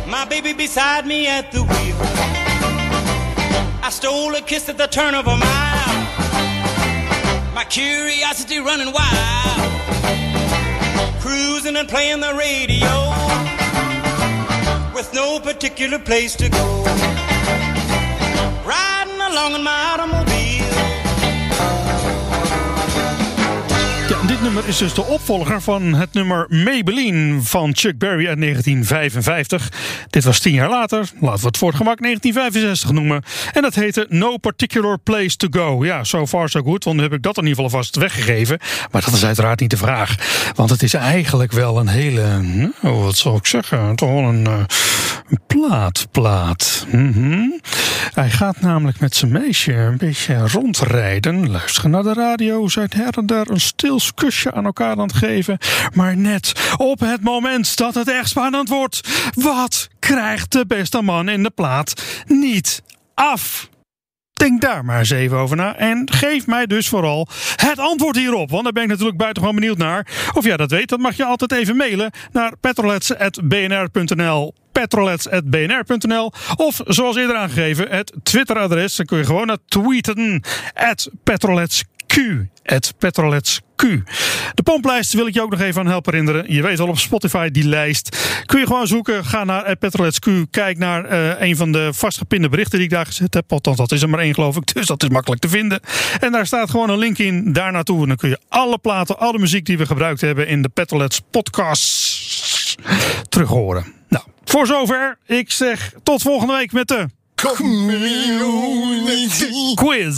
S8: My baby beside me at the wheel. I stole a kiss at the turn of a mile. My curiosity running wild. Cruising and playing the radio. With no particular place to go. Riding along in my automobile.
S7: Ja, dit nummer is dus de opvolger van het nummer Maybelline van Chuck Berry uit 1955. Dit was tien jaar later. Laten we het voor het gemak 1965 noemen. En dat heette No Particular Place to Go. Ja, so far so good. Want nu heb ik dat in ieder geval vast weggegeven. Maar dat is uiteraard niet de vraag. Want het is eigenlijk wel een hele... nou, wat zal ik zeggen? Toch wel een... eh, een plaat, plaat. Mhm. Hij gaat namelijk met zijn meisje een beetje rondrijden. Luisteren naar de radio. Zijn her en der een stils kusje aan elkaar aan het geven. Maar net op het moment dat het echt spannend wordt. Wat krijgt de beste man in de plaat niet af? Denk daar maar eens even over na. En geef mij dus vooral het antwoord hierop. Want daar ben ik natuurlijk buitengewoon benieuwd naar. Of jij dat weet, dat mag je altijd even mailen naar petrolets.bnr.nl petrolets.bnr.nl of zoals eerder aangegeven het Twitteradres. Dan kun je gewoon naar tweeten at petroletsq at petroletsq. De pomplijst wil ik je ook nog even aan helpen herinneren. Je weet wel, op Spotify die lijst. Kun je gewoon zoeken. Ga naar petroletsq. Kijk naar eh, een van de vastgepinde berichten die ik daar gezet heb. Althans, dat is er maar één geloof ik. Dus dat is makkelijk te vinden. En daar staat gewoon een link in daar naartoe. En dan kun je alle platen, alle muziek die we gebruikt hebben in de Petrolets podcast terug horen. Nou, voor zover. Ik zeg tot volgende week met de quiz.